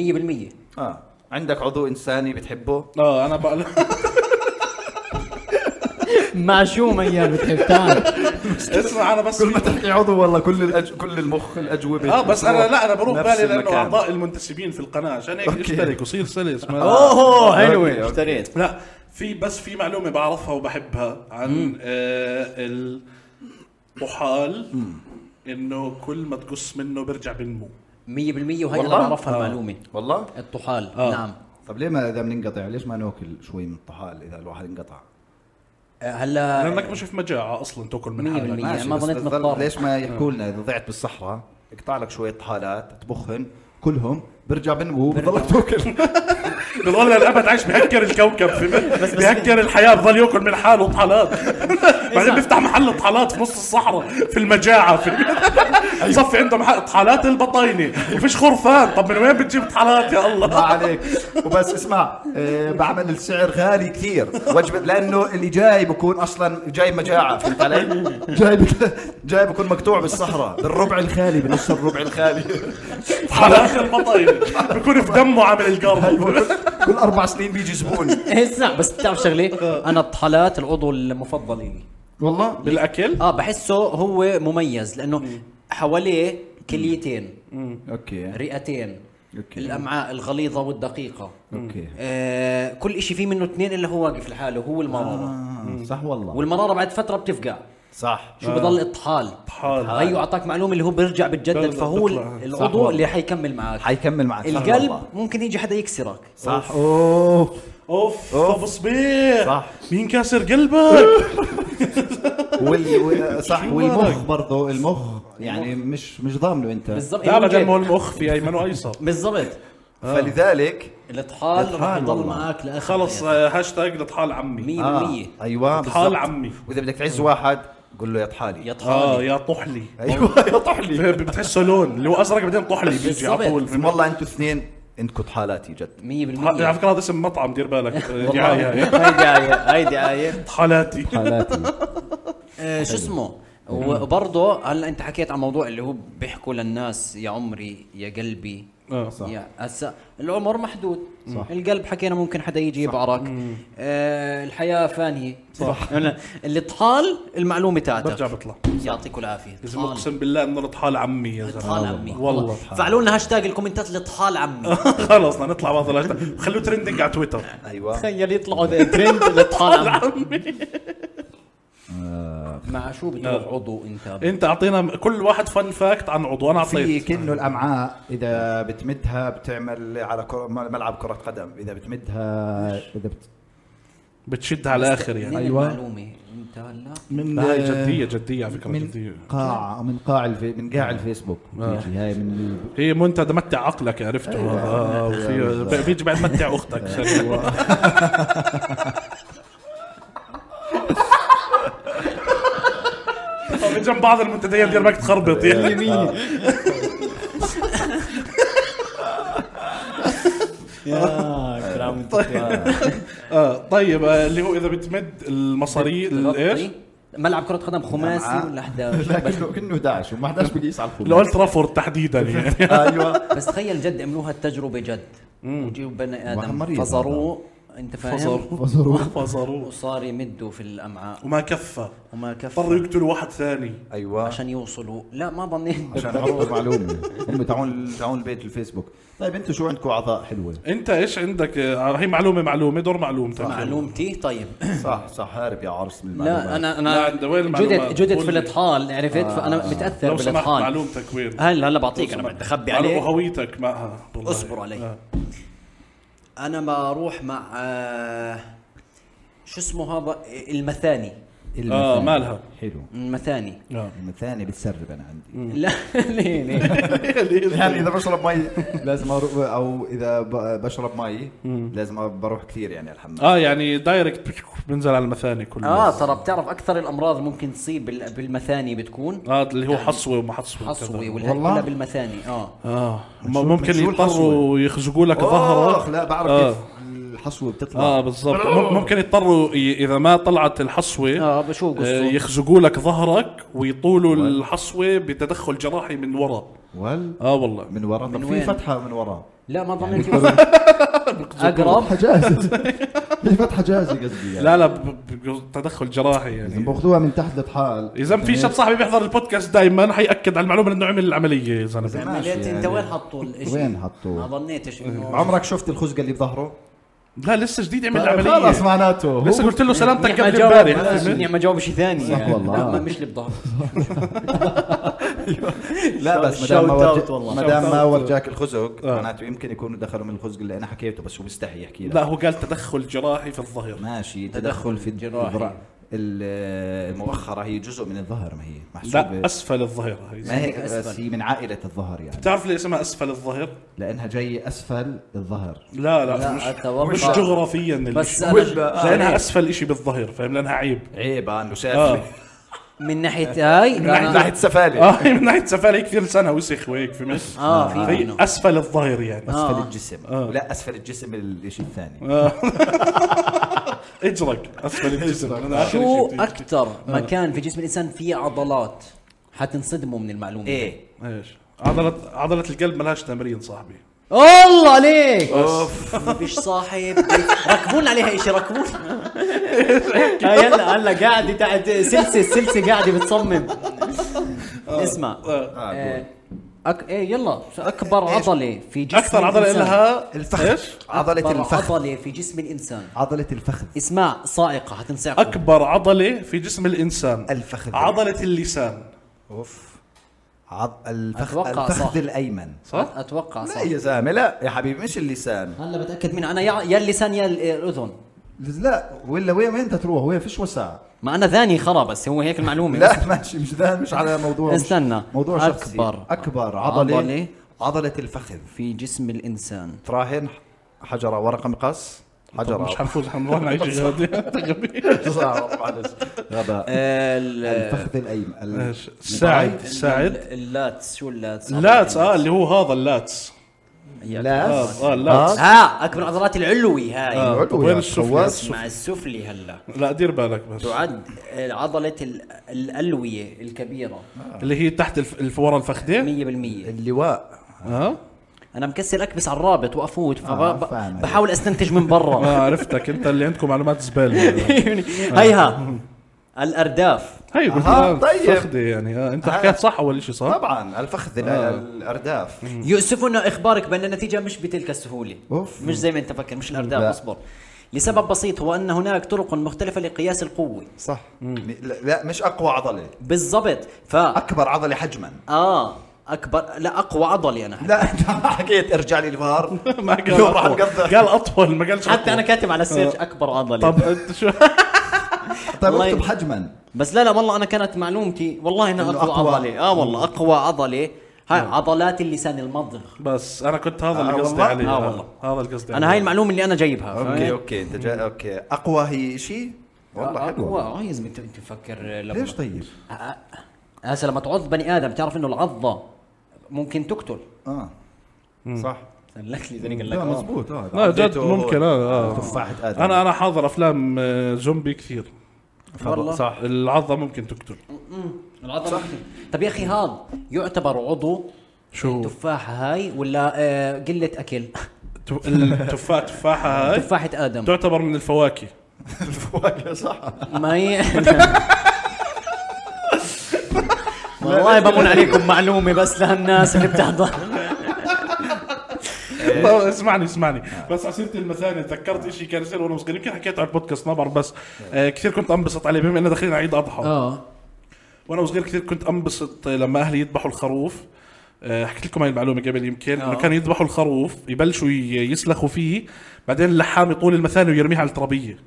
B: 100%
A: اه عندك عضو انساني بتحبه
C: اه انا بقى
B: معشوم ايام بتحب تعال
C: اسمع انا بس
A: كل ما تحكي عضو والله كل الأج... آه، كل المخ الاجوبه
C: اه بس انا لا انا بروح
A: نفس
C: بالي لانه
A: المكان.
C: اعضاء المنتسبين في القناه عشان هيك
A: أوكي. آه،
C: اشترك وصير سلس ما-
B: اوه
A: أوكي،
B: حلوه
A: أوكي.
B: اشتريت
C: لا في بس في معلومه بعرفها وبحبها عن آه الطحال انه كل ما تقص منه بيرجع بنمو
B: 100% وهي انا
A: والله؟
B: بعرفها
A: آه.
B: المعلومه
A: والله
B: الطحال
C: آه.
B: نعم
A: طب ليه ما اذا بننقطع ليش ما ناكل شوي من الطحال اذا الواحد انقطع
B: آه، هلا
C: لانك مش في مجاعه اصلا تاكل من
B: مية بالمية.
C: حالك
A: ماشي،
B: ما
A: بس
B: ظنيت
A: بتضل-
B: مضطر.
A: ليش ما يحكوا لنا اذا ضعت بالصحراء اقطع لك شويه طحالات طبخهن كلهم برجع بنمو بضلك تاكل
C: بضل للابد عايش بهكر الكوكب في بهكر الحياه بضل ياكل من حاله طحالات بعدين بيفتح محل طحالات في نص الصحراء في المجاعه
B: أيوه.
C: في صفي عنده محل طحالات البطاينه وفيش خرفان طب من وين بتجيب طحالات يا
A: ما
B: آه.
C: الله
A: عليك وبس اسمع آه، بعمل السعر غالي كثير وجبه لانه اللي جاي بكون اصلا جاي مجاعه فهمت علي؟ جاي بك- جاي بكون مقطوع بالصحراء بالربع الخالي بنص الربع الخالي
C: طحالات البطاينه بكون في دمه عامل
B: أيوه.
C: القرب
A: كل اربع سنين بيجي زبون
B: اسمع إيه، نعم، بس بتعرف
A: آه.
B: شغله انا الطحالات العضو المفضل لي
A: والله
C: بالاكل
B: اه بحسه هو مميز لانه حواليه كليتين
A: اوكي
B: رئتين
A: أوكي.
B: الامعاء الغليظه والدقيقه
A: اوكي
B: آه كل شيء فيه منه اثنين الا هو واقف لحاله هو المراره
A: آه، صح والله
B: والمراره بعد فتره بتفقع
A: صح
B: شو بضل اطحال
C: طحال.
B: هيو اعطاك معلومه اللي هو بيرجع بتجدد
C: بيطلع.
B: فهو
C: صح
B: العضو
A: والله.
B: اللي حيكمل معك
A: حيكمل معك صح والله.
B: القلب ممكن يجي حدا يكسرك
A: صح اوف
C: اوف طب صبيح
A: صح.
C: مين كاسر قلبك
A: وال... وال... صح
C: شو
A: والمخ
C: وضعك؟
A: برضه المخ يعني مش مش ضامنه انت
B: بالضبط
C: لا
B: إيه،
C: بدل ما هو
B: وجهك.
C: المخ في ايمن وايسر
B: بالضبط
A: آه. فلذلك
B: الاطحال راح
A: الإطحال
B: يضل
A: والله.
B: معك لاخر
C: خلص
B: حياتك.
C: آه، هاشتاج لطحال عمي
B: 100%
A: ايوه
C: طحال
A: بالضبط.
C: عمي.
A: واذا بدك تعز واحد قول له يا طحالي
B: يا
C: اه
B: طحالي
C: يا طحلي
A: ايوه يا طحلي
C: بتحسه لون اللي هو ازرق بعدين طحلي بيجي على طول
A: من والله انتوا اثنين انكم طحالاتي جد
B: 100%
C: على فكره هذا اسم مطعم دير بالك آه، دعايه
B: هاي
A: آية،
B: دعايه هاي دعايه
C: طحالاتي
B: آه، شو اسمه و- وبرضه هلا انت حكيت عن موضوع اللي هو بيحكوا للناس يا عمري يا قلبي
C: آه،
D: صح.
B: يا هسا العمر محدود صح. القلب حكينا ممكن حدا يجي يبعرك آه الحياه فانيه صح اللي طحال المعلومه تاعتك
C: برجع بطلع
B: يعطيك العافيه
C: لازم
B: طحال.
C: اقسم بالله انه لطحال عمي يا
B: طحال
C: زلمه
B: عمي
C: والله
B: فعلوا لنا هاشتاج الكومنتات اللي طحال عمي
C: خلص بدنا نطلع بعض الاشياء خلوه ترندنج على تويتر
A: ايوه
B: تخيل يطلعوا ذا ترند اللي طحال عمي مع شو بتروح عضو انت
C: انت اعطينا كل واحد فن فاكت عن عضو انا
A: في
C: اعطيت
A: كأنه الامعاء اذا بتمدها بتعمل على كرة ملعب كره قدم اذا بتمدها اذا بت...
C: بتشد على الاخر يعني
B: منين
A: أيوة.
B: المعلومه انت هلا
A: من
C: لا، هاي جديه جديه على فكره
A: آه، من
C: جديه
A: قاع من قاع الفي... من قاع الفيسبوك بتيجي هاي من
C: هي منتدى متع عقلك عرفته هذا آه، وفي بيجي بعد متع اختك سريع. طب جنب بعض المنتديات دير بالك تخربط يعني اه طيب آه، اللي هو اذا بتمد المصاري ايش؟
B: ملعب كرة قدم خماسي ولا 11 بس-
A: لكنه كأنه 11 وما حداش بيقيس على الخبز
C: الاولد ترافورد تحديدا يعني
A: ايوه
B: بس تخيل جد عملوها التجربة جد وجيبوا بني
A: واحد
B: ادم
A: مريض
B: فزروه انت فاهم
A: فزروه.
C: فزروه
B: وصار يمدوا في الامعاء
C: وما كفى
B: وما
C: اضطروا
B: كفى
C: يقتلوا واحد ثاني
A: ايوه
B: عشان يوصلوا لا ما ظنيت
A: عشان عرضوا معلومه هم تعون تعون البيت الفيسبوك طيب انتم شو عندكم اعضاء حلوه
C: انت ايش عندك آه، هي معلومه معلومه دور معلومتك
B: معلومتي طيب
A: صح صح هارب يا عرس من المعلومات
B: لا انا
C: لا،
B: انا
C: عند- وين المعلومات؟
B: جدت جدت
C: قول
B: في
C: لي.
B: الاطحال عرفت
A: آه.
B: فانا متاثر
C: لو سمحت
B: بالاطحال
C: معلومتك وين؟
B: هلا هلا بعطيك انا بدي اخبي
C: على
B: أه، عليك
C: هويتك معها والله.
B: اصبر علي.
C: آه.
B: انا بروح مع آه، شو اسمه هذا المثاني
A: المثاني.
C: آه، مالها.
A: حلو
B: المثاني
C: آه.
A: المثاني بتسرب انا عندي
B: لا ليه ليه
A: يعني اذا بشرب مي لازم اروح او اذا ب- بشرب مي لازم بروح كثير يعني على الحمام
C: اه يعني دايركت بيك- بنزل على المثاني كله
B: اه
C: اه
B: ترى بتعرف اكثر الامراض اللي ممكن تصيب بال- بالمثاني بتكون
C: آه، اللي هو حصوه وما حصوه
B: حصوي
C: كذا.
B: والهي
A: والله؟
B: كلها بالمثاني اه
C: اه م-
A: شو-
C: ممكن
A: شو الحصوة؟
C: يضطروا يخزقوا لك
A: اوه
C: ظهرك
A: لا بعرف
C: آه.
A: كيف الحصوه بتطلع
C: اه بالضبط مم- ممكن يضطروا ي- اذا ما طلعت الحصوه
B: اه بشوف
C: آه،
B: قصته
C: يخزقوا لك ظهرك ويطولوا الحصوه بتدخل جراحي من ورا
A: ول
C: اه والله
A: من ورا طب
B: من
A: في
B: وين؟
A: فتحه من ورا
B: لا ما ظنيت يوصل. اقرب
D: فتحه جاهزه هي فتحه جاهزه قصدي يعني
C: لا لا ب- ب- تدخل جراحي يعني
D: باخذوها من تحت لتحال
C: يا زلمه
A: يعني
C: في شاب صاحبي بيحضر البودكاست دائما حياكد على المعلومه انه عمل العمليه يا زلمه
A: ماشي
B: عمليات انت
A: يعني.
B: وين حطوا الشيء؟
D: وين حطوه؟
B: ما ظنيتش انه
A: عمرك شفت الخزقه اللي بظهره؟
C: لا لسه جديد عمل
D: طيب،
C: العمليه
D: خلص معناته هو
C: لسه قلت له سلامتك
B: منيح ما
C: قبل
B: جاوب
C: امبارح
B: آه، منيح ما جاوب شيء ثاني
D: صح
B: يعني.
D: والله.
B: ما- مش اللي بظهر
A: لا بس مدام ما
B: Shout out
A: ورج-
B: والله.
A: مدام
C: Shout
A: ما
C: out.
A: ورجاك الخزق
C: آه.
A: معناته يمكن يكونوا دخلوا من الخزق اللي انا حكيته بس هو مستحي يحكي لك
C: لا هو قال تدخل جراحي في الظهر
A: ماشي
B: تدخل
A: تدخل في
B: جراحي.
A: الجراحه المؤخره هي جزء من الظهر ما هي محسوبه
C: لا اسفل الظهر هاي
A: ما هيك بس
B: أسفل.
A: هي من عائله الظهر يعني
C: بتعرف ليه اسمها اسفل الظهر؟
A: لانها جايه اسفل الظهر
C: لا لا,
B: لا،
C: مش
B: أتوقع.
C: مش جغرافيا
B: بس
C: بس
B: انا
C: لانها
B: لأنها
C: اسفل شيء بالظهر فاهم لانها عيب
A: عيب عنه
C: اه
A: سافلة
B: من ناحيه هاي
C: من
B: أنا-
C: ناحية-
A: ناحيه سفالة
C: اه من ناحيه سفالة كثير لسانها وسخ وهيك في مصر
B: اه في
C: هي
B: منه.
C: اسفل الظهر يعني
A: اسفل
B: آه.
A: الجسم
C: آه.
A: لا اسفل الجسم الشيء الثاني
C: اجرك اسفل الجسم أنا آخر
B: شو
C: شيء بدي-
B: اكثر مكان في جسم الانسان فيه عضلات حتنصدموا من المعلومه
A: ايه
C: ايش عضلة عضلة القلب ملهاش تمرين صاحبي
B: الله عليك
C: اوف
B: مفيش صاحب ركبون عليها شيء ركبون هاي هلا آه، هلا قاعده تحت سلسه سلسه قاعده بتصمم اسمع
A: آه،
B: آه، أك... ايه يلا اكبر عضله في جسم
C: اكثر عضلة
B: الإنسان.
C: لها
A: الفخذ.
C: ايش؟
A: عضلة
B: أكبر
A: الفخذ.
B: عضله في جسم الانسان
A: عضله الفخذ
B: اسمع صاعقه حتنصعقوا
C: اكبر عضلة في جسم الانسان
A: الفخذ
C: عضلة اللسان
A: اوف عض الفخذ
B: أتوقع صح.
A: الفخذ الايمن
C: صح؟
B: اتوقع صح
A: لا يا زلمه لا يا حبيبي مش اللسان
B: هلا بتاكد منه انا يا يا اللسان يا ال- آه، الاذن
D: لا ولا وين وين بدها تروح وين فيش وسع
B: ما انا ذاني خرا بس هو هيك المعلومه
D: لا ماشي مش ذا مش على موضوع مش-
B: استنى.
D: موضوع شخصي
B: أكبر.
D: اكبر عضله
B: عضلة.
D: عضله, عضلة الفخذ
B: في جسم الانسان
A: تراهن حجره ورقه مقص
B: آه،
C: طب مش
A: حجره
C: حنفوز حنروح نعيش غادي
A: غباء الفخذ الايمن ال-
C: ايش؟ الساعد الساعد
B: اللاتس شو اللاتس
C: اللاتس اه اللي هو هذا اللاتس
D: لا
C: اه آه، اللاتس
B: ها اكبر عضلات العلوي هاي
C: آه،
D: العلوي
C: وين
D: يا
C: السفلى؟
D: خواص.
C: السفلى.
B: مع السفلي هلا
C: لا دير بالك بس
B: تعد عضلة ال- الألوية الكبيرة
C: اللي هي تحت الف... الف... ورا الفخذين
B: 100%
A: اللواء
C: اه
B: أنا مكسر أكبس على الرابط وأفوت
D: آه،
B: فب-
D: فاهم.
B: بحاول أستنتج من برا
C: ما عرفتك انت اللي عندكم معلومات زباله
B: هيها الأرداف
C: هي قلت
A: أها،
C: لها
A: طيب.
C: فخذه أيوة، يعني آه انت حكيت صح اول شيء صح؟
A: طبعا الفخذ ال-
C: آه.
A: الارداف
B: يؤسفنا اخبارك بان النتيجه مش بتلك السهوله
D: أوف.
B: مش زي ما انت فكر مش الارداف
D: لا.
B: اصبر لسبب بسيط هو ان هناك طرق مختلفه لقياس القوه
A: صح لا لا، مش اقوى عضله
B: بالضبط ف
A: اكبر عضله حجما
B: اه اكبر لا اقوى عضلي انا
A: لا انت ما حكيت ارجع لي الفار
C: ما قال
A: يوم راح
C: أطول.
A: نقضي.
C: قال اطول ما قالش
B: حتى انا
C: أطول.
B: كاتب على السيرش اكبر عضلي
C: طب انت شو
D: طيب
B: والله-
D: اكتب حجما
B: بس لا لا والله انا كانت معلومتي والله انها
A: إنه
B: اقوى
A: أقوى.
B: عضله اه والله اقوى عضله هاي عضلات اللسان المضغ
C: بس انا كنت هذا
A: آه
C: اللي قصدي
A: والله؟
C: عليه
B: آه
C: آه،
B: والله.
C: هذا اللي قصدي
B: انا هاي
C: عليه.
B: المعلومه اللي انا جايبها
A: اوكي اوكي انت جاي اوكي اقوى هي شيء والله
B: اقوى
A: حلوه
B: اه يا زلمه انت أنت تفكر لما آه،
A: ليش طيب؟
B: هسه لما تعض بني ادم تعرف انه العضه ممكن تقتل
A: اه صح
B: سلك لي زني قال لك
D: لا
B: آه.
D: مزبوط اه
C: لا جد
A: عديته هو.
C: ممكن آه، اه
A: تفاحه ادم
C: انا انا حاضر افلام آه، زومبي كثير
B: والله.
C: صح العضه ممكن تقتل
B: العضه آه. ممكن طب يا اخي هذا يعتبر عضو
C: شو
B: تفاحه هاي ولا آه قله اكل
C: ت- التفاحه تفاحه هاي
B: تفاحه ادم
C: تعتبر من الفواكه
A: الفواكه صح
B: ما هي والله بمون عليكم معلومه بس لهالناس اللي بتحضر
C: طب اسمعني اسمعني بس عسيرة المثاني تذكرت شيء كان يصير وانا صغير يمكن حكيت على البودكاست ما بعرف بس آه، كثير كنت انبسط عليه بما اننا داخلين عيد اضحى
B: اه
C: وانا صغير كثير كنت انبسط لما اهلي يذبحوا الخروف آه، حكيت لكم هاي المعلومه قبل يمكن
B: آه.
C: انه كانوا يذبحوا الخروف يبلشوا ي- يسلخوا فيه بعدين اللحام يطول المثاني ويرميها على الترابيه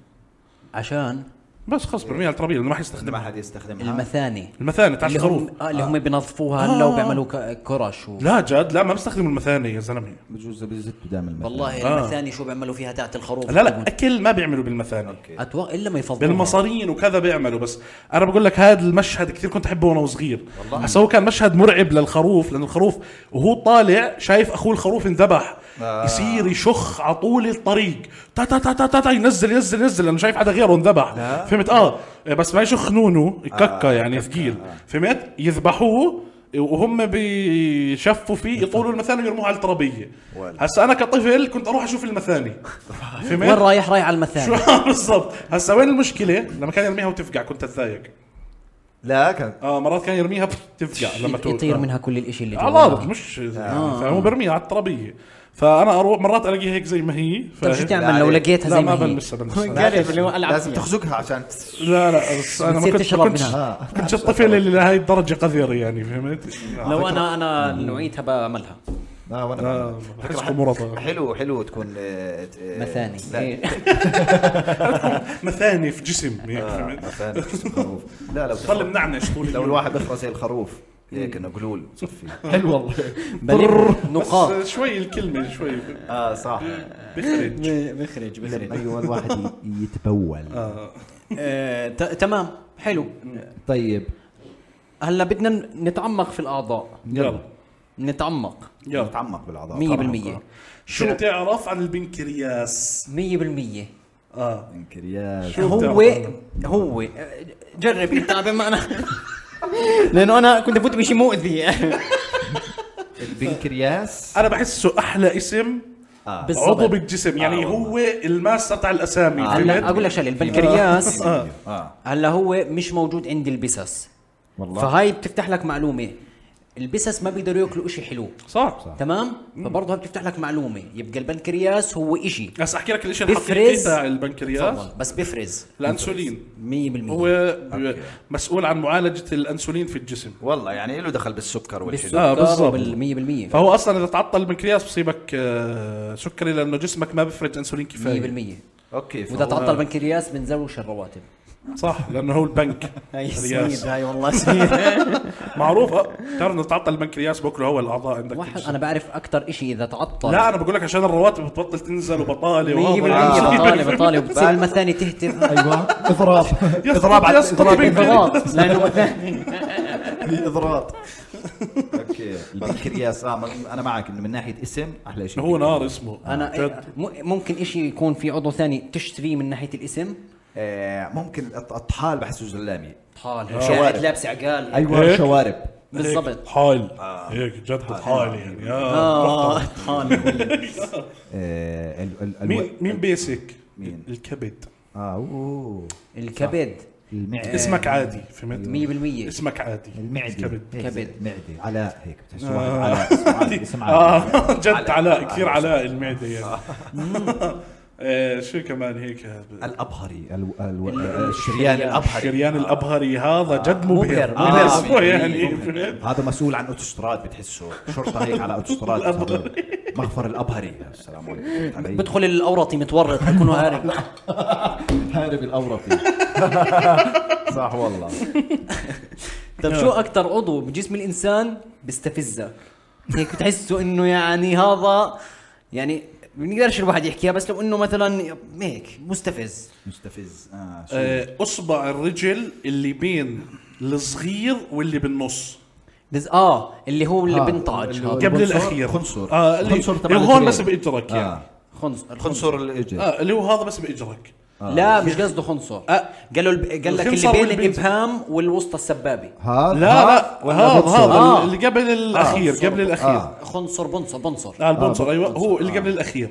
B: عشان
C: بس خلص
B: إيه.
C: برميها على الترابيه لانه ما
A: ما
C: حيستخدمها
A: حد يستخدمها
B: المثاني
C: المثاني تاع
B: اللي
C: الخروف
B: هم آه اللي هم بينظفوها هلا
C: آه.
B: وبيعملوا ك- كرش و...
C: لا جد لا ما بستخدموا المثاني يا زلمه
A: بجوز بيزتوا دائما المثل.
B: والله
C: آه.
B: المثاني شو بيعملوا فيها تاعت الخروف
C: لا لا اكل ما بيعملوا بالمثاني
B: اتوقع الا ما يفضلوها
C: بالمصارين وكذا بيعملوا بس انا بقول لك هذا المشهد كثير كنت احبه وانا صغير والله هسه هو كان مشهد مرعب للخروف لانه الخروف وهو طالع شايف اخوه الخروف انذبح آه. يصير يشخ على طول الطريق تا تا تا تا تا, تا ينزل ينزل ينزل انا شايف حدا غيره انذبح فهمت اه بس ما يشخنونه ككه يعني ثقيل فهمت يذبحوه وهم بيشفوا فيه يطولوا المثانه ويرموها على الترابيه هسا انا كطفل كنت اروح اشوف المثانه
B: وين
C: فهمت
B: رايح رايح على
C: شو
B: المثاني
C: بالضبط هسا وين المشكله لما كان يرميها وتفقع كنت اتضايق
A: لا كان
C: اه مرات كان يرميها بف- تفقع لما تقول آه.
B: يطير منها آه. كل الاشي اللي
C: على
B: جوا.
C: الارض مش فهو برميها على الترابيه فانا اروح مرات الاقيها هيك زي ما هي
B: طيب
C: فاهم؟
B: شو
A: لا
B: تعمل
A: عليك.
B: لو لقيتها
C: لا
B: زي
C: ما
B: ما هي
C: بلمسها بلمسها
E: قالت اللي هو العب
A: لازم
E: فيها.
A: تخزقها عشان آه،
C: لا لا بس انا ما
B: بتصير
C: كنت
B: تشرب
C: كنت
B: منها
C: كنت الطفل اللي لهي الدرجه قذر يعني فهمت؟
B: لو انا انا نوعيتها بعملها
A: لا وانا
C: آه،
A: بعمل.
C: بحسكم مرضى
A: حلو حلو تكون آه، ت- آه،
B: مثاني
A: لا.
B: إيه.
C: مثاني في جسم هيك
A: آه،
C: فهمت؟
A: مثاني شو اسمه خروف لا لو
C: ضل منعنش طول
A: لو الواحد بيخرى زي الخروف هيك انه قلول صفي
D: حلو والله
B: بلم نقاط
C: بس شوي الكلمه شوي
A: اه صح
C: بخرج
E: بخرج بخرج
D: ايوه الواحد ي- يتبول
C: آه.
B: آه، ت- تمام حلو
D: طيب
B: هلا بدنا نتعمق في الاعضاء
C: يلا
B: نتعمق
C: يلا
A: تعمق بالاعضاء
B: 100%
C: شو بتعرف عن البنكرياس؟
B: 100%
C: اه
A: انكرياس
C: شو
B: هو
C: بتعرف؟
B: هو آه، جرب انت عبين ما انا
E: لانه انا كنت افوت بشيء مؤذي
A: البنكرياس
C: انا بحسه احلى اسم
A: آه.
C: عضو
B: بالضبط آه،
C: بالجسم يعني هو الماستر تاع الاسامي فهمت؟
B: هلا اقول لك شغله البنكرياس
C: آه.
A: اه
B: هلا هو مش موجود عند البسس
D: والله.
B: فهاي بتفتح لك معلومه البسس ما بيقدروا ياكلوا إشي حلو
C: صح صح
B: تمام فبرضه هاي بتفتح لك معلومه يبقى البنكرياس هو إشي
C: بس احكي لك الشيء
B: بفرز.
C: الحقيقي تاع البنكرياس
B: تفضل بس بفرز
C: الانسولين
B: 100%
C: هو ب- مسؤول عن معالجه الانسولين في الجسم
A: والله يعني له دخل بالسكر والحلو
C: آه، بالضبط.
B: بالضبط 100%
C: فهو اصلا اذا تعطل البنكرياس بصيبك آه، سكري لانه جسمك ما بفرز انسولين كفايه
B: 100%
A: اوكي
B: واذا
A: فهو-
B: تعطل البنكرياس بنزوش الرواتب
C: صح لانه هو البنك
E: هاي
C: البنكرياس.
E: سميد هاي والله سميد
C: معروف آه، بتعرف انه تعطل البنكرياس باكله هو الاعضاء عندك في
B: واحد
C: الجسم.
B: انا بعرف اكثر شيء اذا تعطل
C: لا انا بقول لك عشان الرواتب بتبطل تنزل وبطاله
B: 100%
C: وهذا.
A: آه.
B: بطالة بطالة وبتصير المثاني تهتف
C: أيوة.
D: ايوه اضراب
C: آه. يا
A: اضراب على-
C: يسقط
A: اضراب
C: منك.
B: غلط لانه مثاني
D: في اضراب
A: اوكي البنكرياس اه ما- انا معك انه من ناحيه اسم احلى شيء
C: هو نار اسمه
B: انا
C: جد.
B: م- إيه، ممكن شيء يكون في عضو ثاني تشتريه من ناحيه الاسم
A: آه، ممكن الط- الطحال بحسه زلامي
C: آه.
B: طال
A: شوارب.
B: قاعد لابس عقال
D: ايوه
C: هيك.
D: شوارب
B: بالضبط
C: حال
A: آه.
C: هيك جد
A: طيب.
C: حال يعني آه.
B: اه طال
A: آه، ال- ال- الو-
C: مين مين بيسك؟
A: مين؟
C: الكبد
A: اه اوه
B: الكبد إيه.
A: المعده
C: اسمك عادي فهمت؟
B: 100%
C: اسمك عادي
A: المعده
C: الكبد.
A: هيك
B: كبد.
A: زي- معده علاء هيك بتحسه واحد
C: آه.
A: علاء اسمه علاء، اسم علاء
C: اه جد
A: علاء.
C: علاء
A: آه،
C: كثير
A: آه.
C: علاء المعده يعني آه، شو كمان هيك هذا؟
A: الابهري ال- ال- الشريان الابهري
C: شريان الابهري هذا جد مبهر
B: مبهر.
C: من
B: آه،
C: اسمه
A: آه. مبهر.
C: يعني
A: مبهر.
C: فهمت؟
A: هذا مسؤول عن اوتوستراد بتحسه شرطه هيك على اوتوستراد مغفر الابهري السلام عليكم
B: بدخل الاورطي متورط بكون هارب
D: هارب الاورقي
A: صح والله
B: طب طيب
C: نعم.
B: شو اكثر عضو بجسم الانسان بيستفزك هيك بتحسه انه يعني هذا يعني بنقدرش الواحد يحكيها بس لو انه مثلا هيك مستفز
A: مستفز اه شو
C: آه، اصبع الرجل اللي بين الصغير واللي بالنص
B: بس اه اللي هو اللي
D: آه،
B: بنطعج
D: اللي هو-
B: هذا
C: قبل
D: الخنصر-
C: الاخير
A: خنصر.
C: اه اللي
D: خنصر تبع
C: اللي هون
D: الرجلين.
C: بس باجرك يعني
A: اه
B: خنصر
A: خنصر الاجر
C: اه اللي هو هذا بس باجرك
B: لا مش قصده خنصر
C: آه.
B: قالوا الب- قال لك
C: الخنصر
B: اللي بين
C: والبنت.
B: الابهام والوسطى السبابه
D: هذا
C: لا لا هذا هذا
B: آه.
C: اللي قبل الاخير قبل الاخير
D: آه.
B: خنصر بنصر بنصر
C: اه البونسر ايوه هو اللي قبل الاخير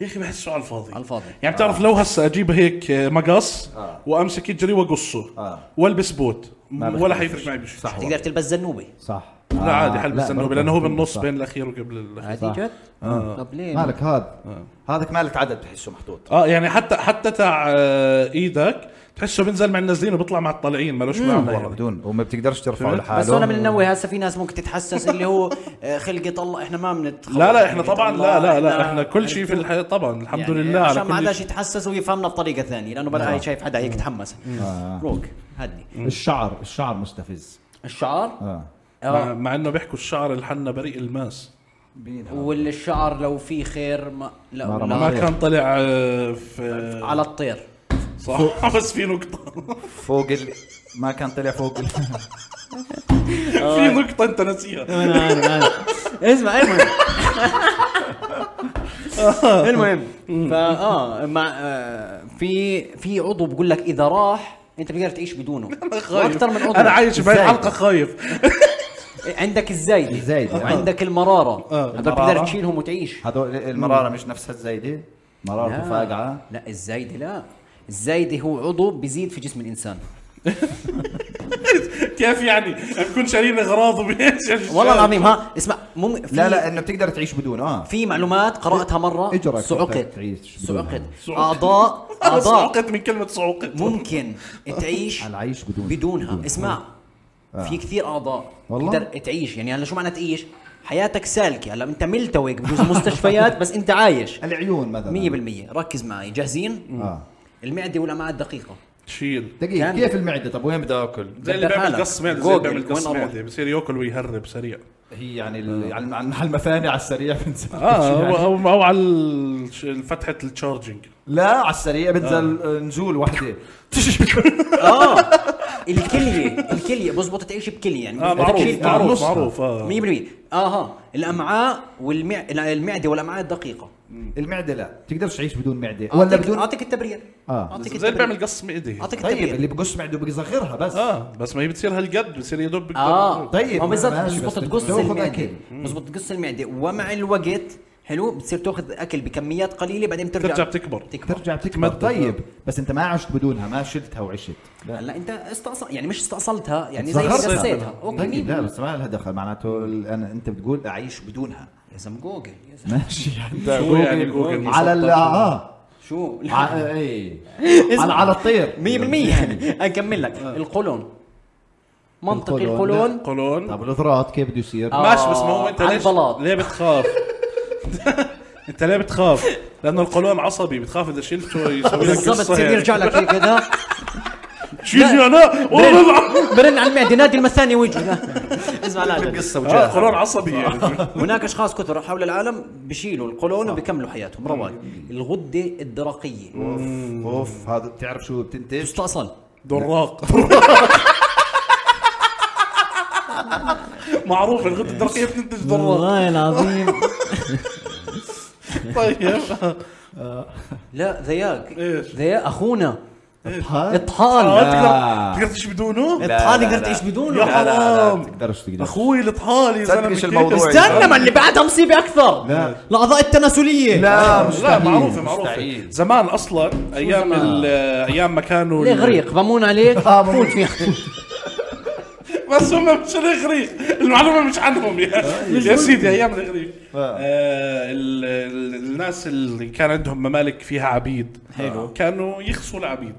C: يا اخي بحسه على الفاضي
B: على الفاضي.
C: يعني بتعرف لو هسه اجيب هيك آه، مقص وامسك اجري واقصه
A: آه.
C: والبس بوت ولا
D: بيختلف
C: حيفرق معي بشيء
A: صح آه.
B: تقدر تلبس زنوبه
D: صح
C: آه، لا عادي حل بالزنوبه
D: برضه
C: لانه هو
D: ممكن،
C: بالنص
D: صح.
C: بين الاخير وقبل الاخير
B: عادي جد
C: آه.
B: آه. طب ليه
D: مالك هذا
A: آه. هذاك مالك عدد بتحسه محطوط
C: اه يعني حتى حتى تاع آه، ايدك تحسه بنزل مع النازلين وبيطلع مع الطالعين ملوش معنى
A: والله
C: يعني.
A: بدون وما بتقدرش ترفعه
C: فهمت؟
A: لحاله
B: بس انا بننوه هسه في ناس ممكن تتحسس اللي هو آه، خلقة الله احنا ما بنتخلق
C: لا لا احنا طبعا لا لا لا
B: خلقة
C: احنا كل شيء في الحياه طبعا الحمد
B: يعني
C: لله على
B: عشان ما
C: كل
B: حداش
C: شيء نعم.
B: يتحسس ويفهمنا بطريقه ثانيه لانه بلا هاي شايف حدا هيك تحمس روك هدني
D: الشعر الشعر مستفز
B: الشعر
D: اه
B: آه،
C: مع, مع انه بيحكوا الشعر الحنة بريء الماس
B: والشعر لو في خير ما لا
D: ما
B: لا.
D: رمى.
C: ما كان طلع آه، في
B: على الطير
C: صح بس في نقطه
A: فوق ال... ما كان طلع فوق ال...
B: آه.
C: في نعم، نقطة أنت ناسيها
B: اسمع المهم المهم فاه مع آه، في في عضو بقول لك اذا راح انت بتقدر تعيش بدونه واكثر من عضو
C: انا طيب. عايش بهاي
B: إزاي؟
C: الحلقه خايف
B: عندك الزايده
A: الزايدة.
B: وعندك المراره
C: آه،
B: هذول
A: المرارة.
B: بتقدر تشيلهم وتعيش
A: هذول المراره مش نفسها الزايده مرارته
B: لا.
A: فاقعه
B: آه. لا الزايده لا الزايده هو عضو بيزيد في جسم الانسان
C: كيف يعني بكون شارين اغراض وبيش
B: والله العظيم ها اسمع مم... في-
A: لا لا انه بتقدر تعيش بدون اه
B: في معلومات قراتها مره
A: إجرك
B: صعقت
A: تعيش بدونها.
B: صعقت
C: صعقت.
B: اعضاء
C: انا
B: اعضاء
C: صعقت من كلمه صعقت
B: ممكن تعيش
A: العيش بدون آه.
B: بدونها اسمع في كثير اعضاء
A: والله؟
B: تقدر تعيش يعني هلا شو معنى تعيش حياتك سالكه هلا انت ملتوي بجوز المستشفيات بس انت عايش 100%
A: العيون مثلا
B: ركز معي جامعين
A: اه
B: المعده والامعاء الدقيقه
C: شيل
A: دقيقة
B: كامل.
A: كيف المعدة طب وين بدي اكل؟
C: زي اللي
B: بدها
C: بيعمل
B: حالك.
C: قص معده زي اللي
B: جوجل،
C: بيعمل قص
B: وين أروح؟
C: معده بصير ياكل ويهرب سريع
A: هي يعني
B: آه.
A: ال- على الم- على المثاني على السريع بنزل شو
C: اه
A: يعني؟
C: او او, أو على ال- ش- فتحه التشارجنج
A: لا
B: آه.
A: على السريع بنزل آه. نزول وحدة
B: اه الكليه الكليه بزبط تعيش بكليه يعني
C: اه
B: بدك
C: معروف
B: تشيل
C: معروف
B: آه، نص.
C: معروف اه
B: 100% اها الامعاء آه، والمع... لا، المعده والامعاء الدقيقه
A: المعدة لا بتقدرش تعيش بدون معدة ولا
B: أعطيك-
A: بدون
B: اعطيك التبرير
A: آه.
B: اعطيك
C: زي اللي بيعمل
B: التبرير
C: قص معده
B: اعطيك
A: طيب
B: التبرير
A: اللي بقص معده بيصغرها بس
B: آه.
C: اه بس ما هي بتصير هالقد بتصير يا دوب بقدر-
B: اه
A: طيب،
B: ما بالضبط
A: ماشي،
B: مزبوط
A: بس
B: تقص
A: بتاخذ
B: المعده
A: أكل.
B: مزبوط تقص المعده ومع الوقت حلو بتصير تاخذ اكل بكميات قليله بعدين بترجع
C: ترجع بتكبر.
B: تكبر
A: ترجع بتكبر طيب بس انت ما عشت بدونها ما شلتها وعشت لا
B: هلا انت استأصل يعني مش استأصلتها يعني زي قصيتها اوكي
A: طيب
B: مين
A: لا بس ما لها دخل معناته ال- انا انت بتقول اعيش بدونها
B: يا زلمه جوجل يا زلمه
A: ماشي
C: شو يعني جوجل
A: على ال اه
B: شو
A: ع- ايه على على الطير آه.
B: 100% اكمل يعني. لك القولون منطقي
A: القولون.
B: القولون
C: قولون
A: طب الافراط طيب، كيف بده يصير؟
B: آه.
C: ماشي بس ما هو انت
B: على
C: ليش
B: البلاط.
C: ليه بتخاف؟ انت ليه بتخاف؟ لانه القولون عصبي بتخاف اذا شلته يسوي لك
B: بالضبط
C: قصه
B: تصير
C: يعني.
B: يرجع لك هيك هذا
C: شو يجي انا؟ والله العظيم.
B: برن على المعده نادي المثاني وجهه اسمع لا
A: قصه
C: آه، قولون عصبي يعني
B: هناك اشخاص كثر حول العالم بشيلوا القولون وبيكملوا حياتهم رواق الغده الدرقيه
A: اوف اوف هذا بتعرف شو بتنتج؟
B: تستأصل
C: دراق معروف الغده الدرقيه بتنتج دراق
E: والله العظيم
C: طيب
B: لا ذياق
C: إيش؟
B: ذياق اخونا
A: اطحال
C: آه،
B: اطحال
C: تقدر تقدر تعيش بدونه؟
B: اطحال تقدر تعيش بدونه
C: يا
A: لا لا
C: حرام.
A: لا تقدرش تقدر
C: اخوي الاطحال يا
A: صدق
C: زلمه
A: إيش
C: كيف؟
A: الموضوع؟
B: استنى ما اللي بعدها مصيبه اكثر
A: لا.
B: الاعضاء التناسليه
A: لا
C: لا
A: مستحيل
C: معروفه معروفه
A: مستحيل.
C: زمان اصلا ايام ال- ايام ما كانوا
B: ليه
C: ال-
B: غريق بمون عليك
A: آه، بمون.
B: فوت فيها
C: بس هم مش الاغريق المعلومه مش عنهم يا يا سيدي ايام الاغريق
A: إيه، آه.
C: آه، ال- ال- الناس اللي كان عندهم ممالك فيها عبيد حلو كانوا يخصوا العبيد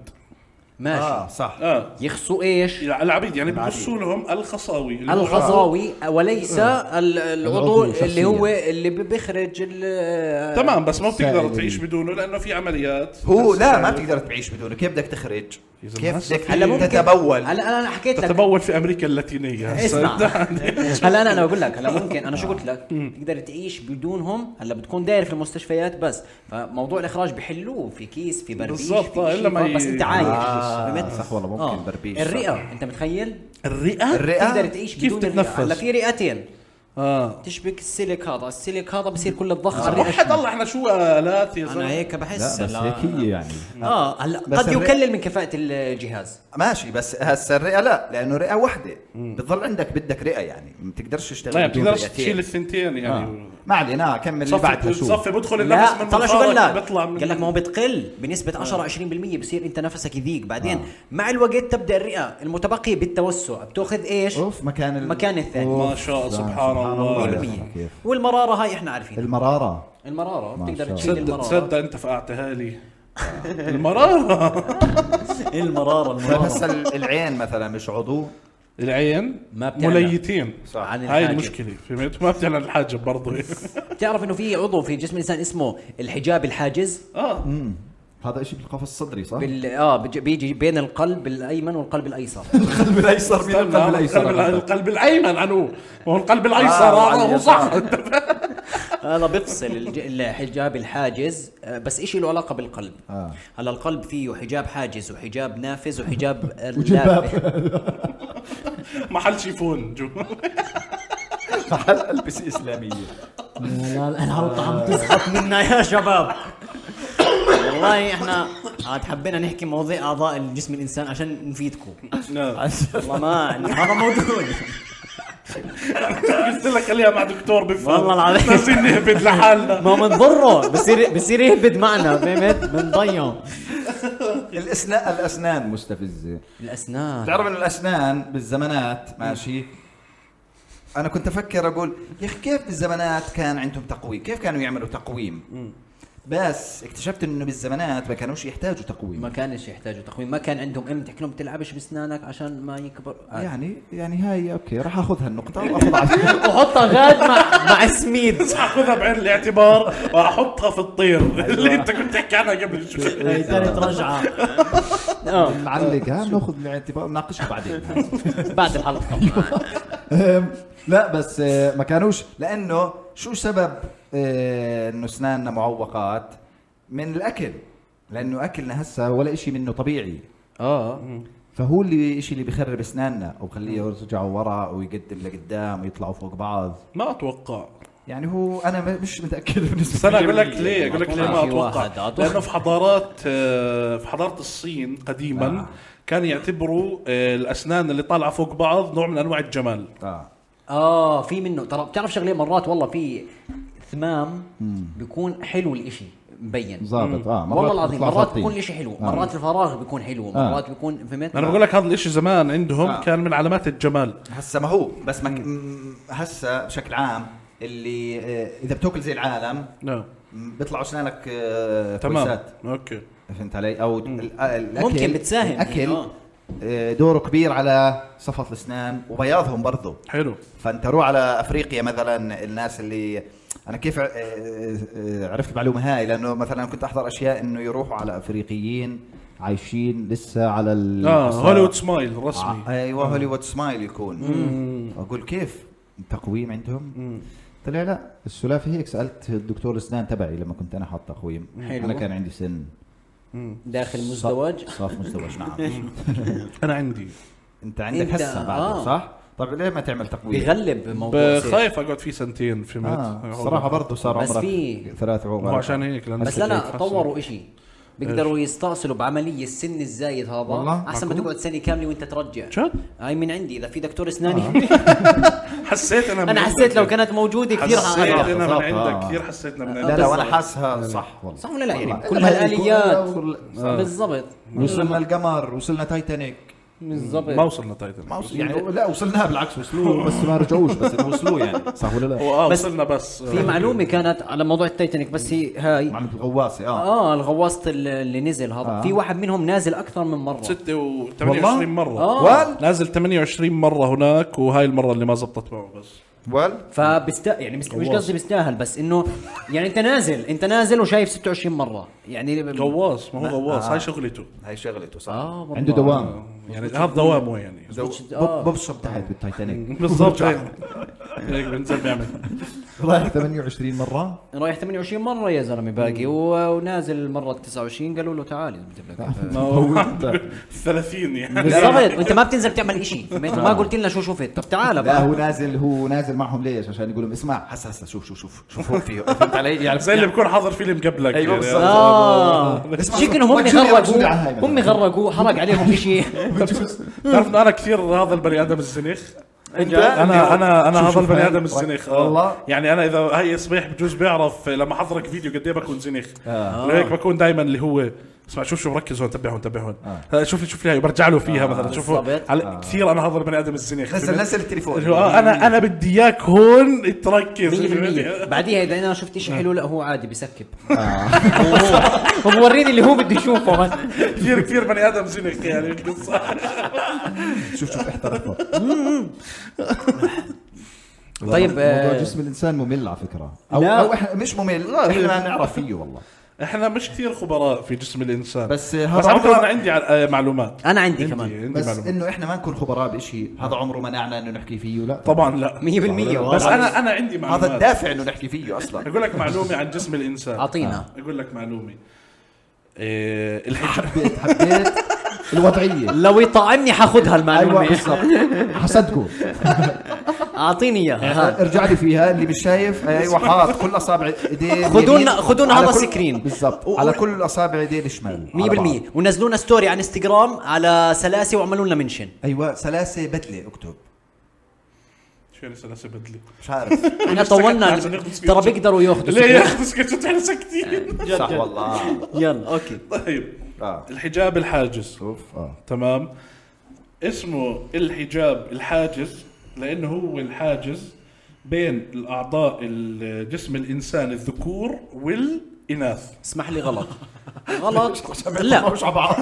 B: ماشي
A: اه صح
C: اه
B: يخصوا ايش؟
C: العبيد يعني بيقصوا لهم الخصاوي اللي هو-
B: الغزاوي وليس ال- العضو
D: العضو
B: اللي
D: شخصياً.
B: هو اللي بيخرج ال-
C: تمام بس ما بتقدر
D: سائل.
C: تعيش بدونه لانه في عمليات
A: هو لا ما تقدر تعيش بدونه كيف بدك تخرج؟
C: يا زلمة
A: كيف
C: هسه
A: بدك
C: في-
B: هلا ممكن
A: تتبول
B: هلا انا حكيت لك
C: تتبول في امريكا اللاتينيه
B: اسمع
C: هسه.
B: هلا انا انا بقول لك هلا ممكن انا شو قلت لك تقدر تعيش بدونهم هلا بتكون داير في المستشفيات بس فموضوع الاخراج بحلوه في كيس في بربيش
C: بالضبط،
B: في
C: آه،
B: شيء،
C: إلا ما ي-
B: بس انت عايش
A: آه،
B: فهمت؟
A: صح والله، ممكن بربيش، صح.
B: الرئه انت متخيل
C: الرئه
A: الرئه
B: تقدر تعيش
C: كيف
B: بدون الرئة.
C: تتنفس؟
B: هلا في رئتين
C: اه
B: تشبك السيليك هذا السيليك هذا بصير كل الضخ على الرئة.
C: وحد الله احنا شو آه، الات يا
B: انا
C: زلمه
B: هيك بحس
A: لا بس
B: لا.
A: هيك هي يعني
B: اه هلا
A: بس
B: قد
A: الرئة-
B: يقلل من كفاءه الجهاز
A: ماشي بس هسه الرئه لا لانه رئه واحده بتضل عندك بدك رئه يعني ما بتقدرش تشتغل
C: لا ما
A: بدون
C: بتقدرش
A: رئتين.
C: تشيل الثنتين يعني
A: آه. ما علينا كمل اللي بعدها شو
C: صفي بدخل النفس
B: لا
C: من
B: طلع شو
C: منخارك
B: قال لك
C: بيطلع آه. من
B: قال لك ما هو بتقل بنسبه 10 20% بصير انت نفسك يضيق بعدين
C: آه.
B: مع الوقت تبدا الرئه المتبقيه بالتوسع بتاخذ ايش
A: اوف مكان ال...
B: مكان الثاني
C: ما شاء الله سبحان
A: يا
C: الله.
B: 100%
A: زلمة، كيف.
B: والمراره هاي احنا عارفين
A: المراره
B: المراره
A: ما شاء
B: بتقدر
A: الله.
B: تشيل
C: تصدق
B: المراره
C: تصدق انت فقعتها لي المرارة
B: المراره
A: طيب
B: المراره
A: هسه ال- العين مثلا مش عضو
C: العين
B: ما بتعلن.
C: مليتين
A: صح.
B: عن
C: هاي
B: الحاجب.
C: المشكلة فهمت ما بتعلن الحاجب برضه
B: بتعرف انه في عضو في جسم الانسان اسمه الحجاب الحاجز
C: اه
A: هذا شيء بالقفص الصدري صح؟
B: بال... اه بيج- بيجي بين القلب الايمن والقلب الايسر
A: بالقلب الايسر مين
C: استنى،
A: القلب
C: نعم، القلب الأ-
A: الايسر؟
C: القلب الايمن عنو هو القلب الايسر
A: آه،
C: آه، هو صح
B: هذا بيفصل الج- الحجاب الحاجز آه، بس إشي له علاقه بالقلب
A: آه.
B: هلا القلب فيه حجاب حاجز وحجاب نافذ وحجاب
D: وجباب.
C: محل شيفون جو
A: محل البسه اسلاميه
F: يا لا لا، الحلقه
B: آه،
F: عم تسحب
E: منا يا شباب والله احنا عاد حبينا نحكي مواضيع اعضاء الجسم الانسان عشان نفيدكم
B: نعم.
E: والله ما هذا موجود
C: قلت لك خليها مع دكتور بفهم
E: والله العظيم.
C: نازلين نهبد لحالنا
E: ما بنضره بصير بصير يهبد معنا فهمت بنضيعه
A: الاسنان الاسنان مستفزه
E: الاسنان
A: تعرف انه الاسنان بالزمانات ماشي انا كنت افكر اقول يا اخي كيف بالزمانات كان عندهم تقويم كيف كانوا يعملوا تقويم بس اكتشفت انه بالزمانات ما كانوش يحتاجوا تقويم
B: ما كانش يحتاجوا تقويم ما كان عندهم ام تحكي لهم تلعبش بسنانك عشان ما يكبر آه.
A: يعني يعني هاي اوكي راح اخذها النقطه واخذ عشرة
E: وحطها غاد مع مع سميد
C: اخذها بعين الاعتبار واحطها في الطير اللي انت كنت تحكي عنها قبل شوي
F: هي ثالث رجعه
E: آه،
D: نعلقها ناخذ بالاعتبار نناقشها بعدين
E: بعد الحلقه
D: أم، لا بس آه، ما كانوش
A: لانه شو سبب آه، انه اسناننا معوقات من الاكل لانه اكلنا هسه ولا إشي منه طبيعي
C: آه.
B: اه
A: فهو اللي الشيء اللي بيخرب اسناننا وبخليه يرجعوا ورا ويقدم لقدام ويطلعوا فوق بعض
C: ما اتوقع
A: يعني هو انا م- مش متاكد
C: بس
A: بالنسبه
C: انا اقول لك ليه اقول لك ليه ما
B: أعطونا شي
C: اتوقع
B: واحد، أعطونا.
C: لانه في حضارات آه، في حضاره الصين قديما كان يعتبروا آه، الاسنان اللي طالعه فوق بعض نوع من انواع الجمال
A: آه.
B: اه في منه ترى بتعرف شغله مرات والله في ثمام بيكون حلو الاشي مبين
D: ظابط
A: آه،
D: اه مرات
B: والله العظيم
D: بيطلع
B: مرات
D: خطين.
B: بيكون الاشي حلو
D: آه.
B: مرات الفراغ بيكون حلو مرات بيكون فهمت
C: انا بقول لك هذا الاشي زمان عندهم
A: آه.
C: كان من علامات الجمال
A: هسه ما هو بس ما ك- م- هسه بشكل عام اللي آه، اذا بتاكل زي العالم
C: نعم
A: م- بيطلعوا اسنانك آه،
C: تمام
A: كويسات.
C: اوكي
A: فهمت علي او ال- آه، الاكل
E: ممكن بتساهم.
A: الاكل
E: آه.
A: آه، دوره كبير على صفة الاسنان وبياضهم برضه
C: حلو
A: فانت روح على افريقيا مثلا الناس اللي انا كيف ع- آه، آه، عرفت المعلومه هاي لانه مثلا كنت احضر اشياء انه يروحوا على افريقيين عايشين لسه على ال
C: اه هوليوود سمايل رسمي
A: ع-
C: آه.
A: ايوه هوليوود سمايل يكون اقول كيف تقويم عندهم
D: طلع لا السلافه هيك سالت الدكتور الاسنان تبعي لما كنت انا حاط تقويم
B: حلو.
D: انا كان عندي سن
B: داخل مزدوج
D: صاف مزدوج نعم
C: انا عندي
A: انت عندك
B: أنت-
A: هسه بعد
B: آه.
A: صح؟ طيب ليه ما تعمل تقويم؟
B: بيغلب موضوع
C: ب-
B: سيف.
C: آه، خايف اقعد فيه سنتين في
A: آه،
D: اه الصراحه برضه صار
B: بس
D: عمرك
B: في- آه،
D: ثلاث عقود
C: هو عشان هيك لأنه
B: بس لا لا
C: حسن.
B: طوروا اشي بيقدروا يستأصلوا بعملية السن الزايد هذا
D: والله؟
B: احسن ما
D: معقول؟
B: تقعد سنة كاملة وانت ترجع
C: جد
B: هاي من عندي اذا في دكتور اسناني
D: آه.
C: حسيت انا من
E: انا حسيت لو كانت موجوده كثير
C: حسيت
E: حأعرف.
C: انا من
D: بالضبط،
C: عندك
D: آه.
C: كثير حسيتنا من
A: لا
C: عندك
A: لا وانا حاسها صح والله
B: صح ولا لا يعني
D: والله.
B: كل
D: إلا ما يكون-
B: هالآليات
D: ولا-
B: بالضبط
A: وصلنا القمر وصلنا تايتانيك
C: ما
B: بالضبط
C: وصلنا تايتن
A: ما وصل يعني
D: لا وصلناها بالعكس وصلوه بس ما رجعوش بس إنه وصلوه يعني صح ولا لا؟
C: هو اه وصلنا بس
B: في معلومة كانت على موضوع التايتانيك بس هي هاي
A: معلومة الغواصة اه
B: اه الغواصة اللي اللي نزل هذا
C: آه.
B: في واحد منهم نازل اكثر من مرة
C: 26 مره
B: آه.
C: نازل 28 مره هناك وهاي المره اللي ما زبطت معه بس
A: وال
B: فبست يعني بست... مش قصدي بيستاهل بس انه يعني انت نازل انت نازل وشايف 26 مره يعني
C: غواص ما هو غواص هاي شغلته
A: هاي شغلته صح
B: اه والله.
D: عنده دوام
C: يعني هذا دوامه يعني
A: زو-
B: آه.
A: بب- ببصب تحت بالتايتانيك
C: بالضبط هيك هيك بنزل بيعمل
D: رايح 28 مره
B: رايح 28 مره يا زلمه باقي و... ونازل المره 29 قالوا له تعال نجيب لك
D: ما هو
C: 30 يعني
B: بالضبط وانت ما بتنزل تعمل شيء فهمت
C: آه.
B: ما قلت لنا شو شفت طب تعال
A: لا
B: بقى
A: هو نازل هو نازل معهم ليش عشان يقول لهم اسمع هسه هسه شوف شوف شوف شوف هو فيه فهمت علي يعني
C: زي اللي بكون حاضر فيلم قبلك
A: ايوه
C: يعني. آه.
A: بالضبط
B: اه شكلهم هم
A: وجهي- وجهي
B: غرقوا
A: على هاي مثلاً.
B: هم غرقوا حرق عليهم شيء
C: تعرف إنه انا كثير هذا البني ادم الزنيخ
A: انت
C: انا انا انا هذا البني
D: هاي.
C: ادم الزنيخ آه.
A: والله.
C: يعني انا اذا هاي صبيح بجوز بيعرف لما حضرك فيديو قد ايه بكون زنيخ آه. هيك بكون دائما اللي هو اسمع شوف شو مركز هون تبع هون تبع هون آه. شوف شوف لي هاي برجع له فيها آه. مثلا شوف هون.
B: بالضبط.
C: على كثير انا هذا البني ادم الزنيخ
A: نزل
C: فهمت؟
A: نزل التليفون
C: اللي هو آه انا انا بدي اياك هون تركز
B: 100% بعديها اذا انا شفت شيء حلو لا هو عادي بسكب هو موريني اللي هو بده يشوفه بس
C: كثير كثير بني ادم زنخ يعني القصه
D: شوف شوف احترقنا
B: طيب،
D: موضوع
B: آه.
D: جسم الانسان ممل على فكره او
B: لا.
D: او احنا مش ممل احنا نعرف فيه والله
C: احنا مش كثير خبراء في جسم الانسان
A: بس
C: بس
A: هذا
C: على فكره انا
A: عمره
C: عندي ع- آه، معلومات
B: انا عندي
C: عندي
B: كمان
C: عندي
A: بس
C: معلومات
A: انه احنا ما نكون خبراء بشيء هذا عمره منعنا انه نحكي فيه لا
C: طبعا لا
B: 100%
C: بس انا انا عندي
A: هذا
C: معلومات
A: الدافع انه نحكي فيه اصلا
C: اقول لك معلومه عن جسم الانسان
B: اعطينا
C: اقول لك معلومه إيه الحجر
D: حبيت حبيت الوضعيه
B: لو يطعمني حاخذها
A: أيوة،
D: ايوه
B: المعلومه
D: بالضبط حصدقوا
B: اعطيني اياها
A: ارجع لي فيها اللي مش شايف ايوه حاط كل اصابع ايديه
B: خدونا- خدونا
A: على
B: هذا
A: كل-
B: سكرين.
A: بالضبط
B: و-
A: على
B: و-
A: كل اصابع ايديه الشمال على بعض.
B: 100% ونزلوا لنا ستوري على انستغرام على سلاسي واعملوا لنا منشن
A: ايوه سلاسه بدله اكتب
C: شو يعني سلاسل بدلي
A: مش عارف
B: احنا طولنا
C: عشان ياخذوا
B: ترى بيقدروا ياخذوا
C: ليه
B: سكرين.
C: ياخذ سكتشات احنا ساكتين
A: صح والله
B: يلا اوكي
C: طيب
A: اه
C: الحجاب الحاجز
A: اوف اه
C: تمام اسمه الحجاب الحاجز لانه هو الحاجز بين الاعضاء ال- جسم الانسان الذكور والاناث
B: اسمح لي غلط غلط لا
G: مش على بعض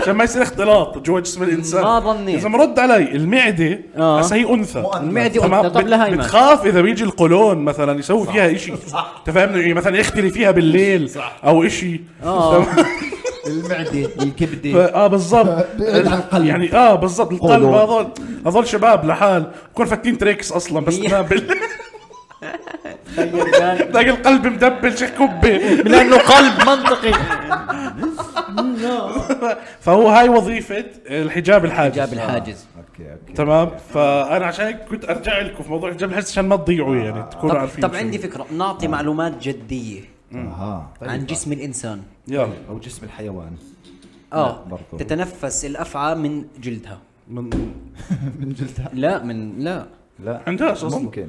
C: عشان ما يصير اختلاط جوا جسم الانسان
B: ما ظنيت.
C: اذا مرد علي المعده
B: آه.
C: هسه هي انثى
B: المعدة
C: تمام؟
B: قلت طب
C: بت-
B: لها هيمن
C: بتخاف اذا بيجي القولون مثلا يسوي فيها شيء انت فاهمني مثلا يختلي فيها بالليل او شيء
B: آه.
A: المعده الكبده
C: اه بالضبط
G: بعيد عن القلب.
C: يعني اه بالضبط القلب
G: قولون.
C: هذول هذول شباب لحال بكون فاكرين تريكس اصلا بس
B: هي-
C: ما بال- تلاقي القلب مدبل شي كبه
B: لانه قلب منطقي
C: فهو هاي وظيفه الحجاب الحاجز
H: جاب الحاجز
A: اوكي اوكي
C: تمام فانا عشان هيك كنت ارجع لكم في موضوع الحجاب الحاجز عشان ما تضيعوا يعني تكونوا
B: آه، طب,
C: عارفين
B: طب
C: شو.
B: عندي فكره نعطي معلومات جديه
A: اها طيب.
B: عن جسم الانسان
C: يلا
A: او جسم الحيوان
B: اه
A: برضو.
B: تتنفس الافعى من جلدها
C: من
A: من جلدها
B: لا من لا
A: لا
C: عندهاش أصلاً.
A: ممكن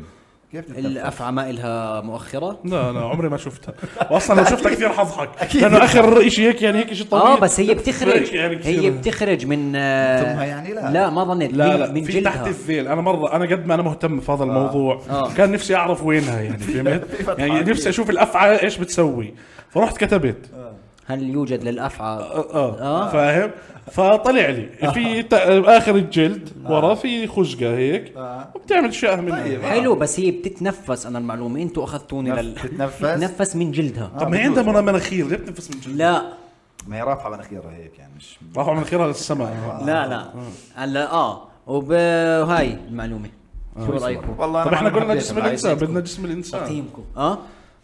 A: كيف تتنفس؟
B: الافعى ما إلها مؤخره
C: لا لا عمري ما شفتها واصلا لو شفتها كثير حضحك لانه اخر شيء هيك يعني هيك شيء طويل
B: اه بس هي بتخرج
C: يعني كثير.
B: هي بتخرج من آه،
A: ثمها يعني لا.
B: لا ما ظنيت
C: لا
B: من-
C: لا
B: من
C: في تحت
B: جلدها
C: الذيل انا مره انا قد ما انا مهتم في هذا الموضوع
B: آه.
C: كان نفسي اعرف وينها يعني فهمت يعني نفسي اشوف الافعى ايش بتسوي فرحت كتبت
A: آه.
B: هل يوجد للافعى
C: اه, آه. فاهم فطلع لي في ت- اخر الجلد ورا في خشقه هيك
A: آه.
C: وبتعمل شيء
A: طيب،
C: منها
B: حلو بس هي بتتنفس انا المعلومه انتوا اخذتوني لل
A: تتنفس
B: تتنفس من جلدها
C: طب ما هي عندها مناخير ليه بتنفس من جلدها؟
B: لا
A: ما هي رافعه مناخيرها هيك يعني مش
C: راحوا مناخيرها للسماء
B: لا لا هلا اه وب- وهاي المعلومه
A: آه.
B: شو رايكم؟
A: والله
C: طب احنا
A: ما
C: قلنا
A: حبيت
C: جسم
A: معي.
C: الانسان بدنا جسم الانسان
B: تقييمكم اه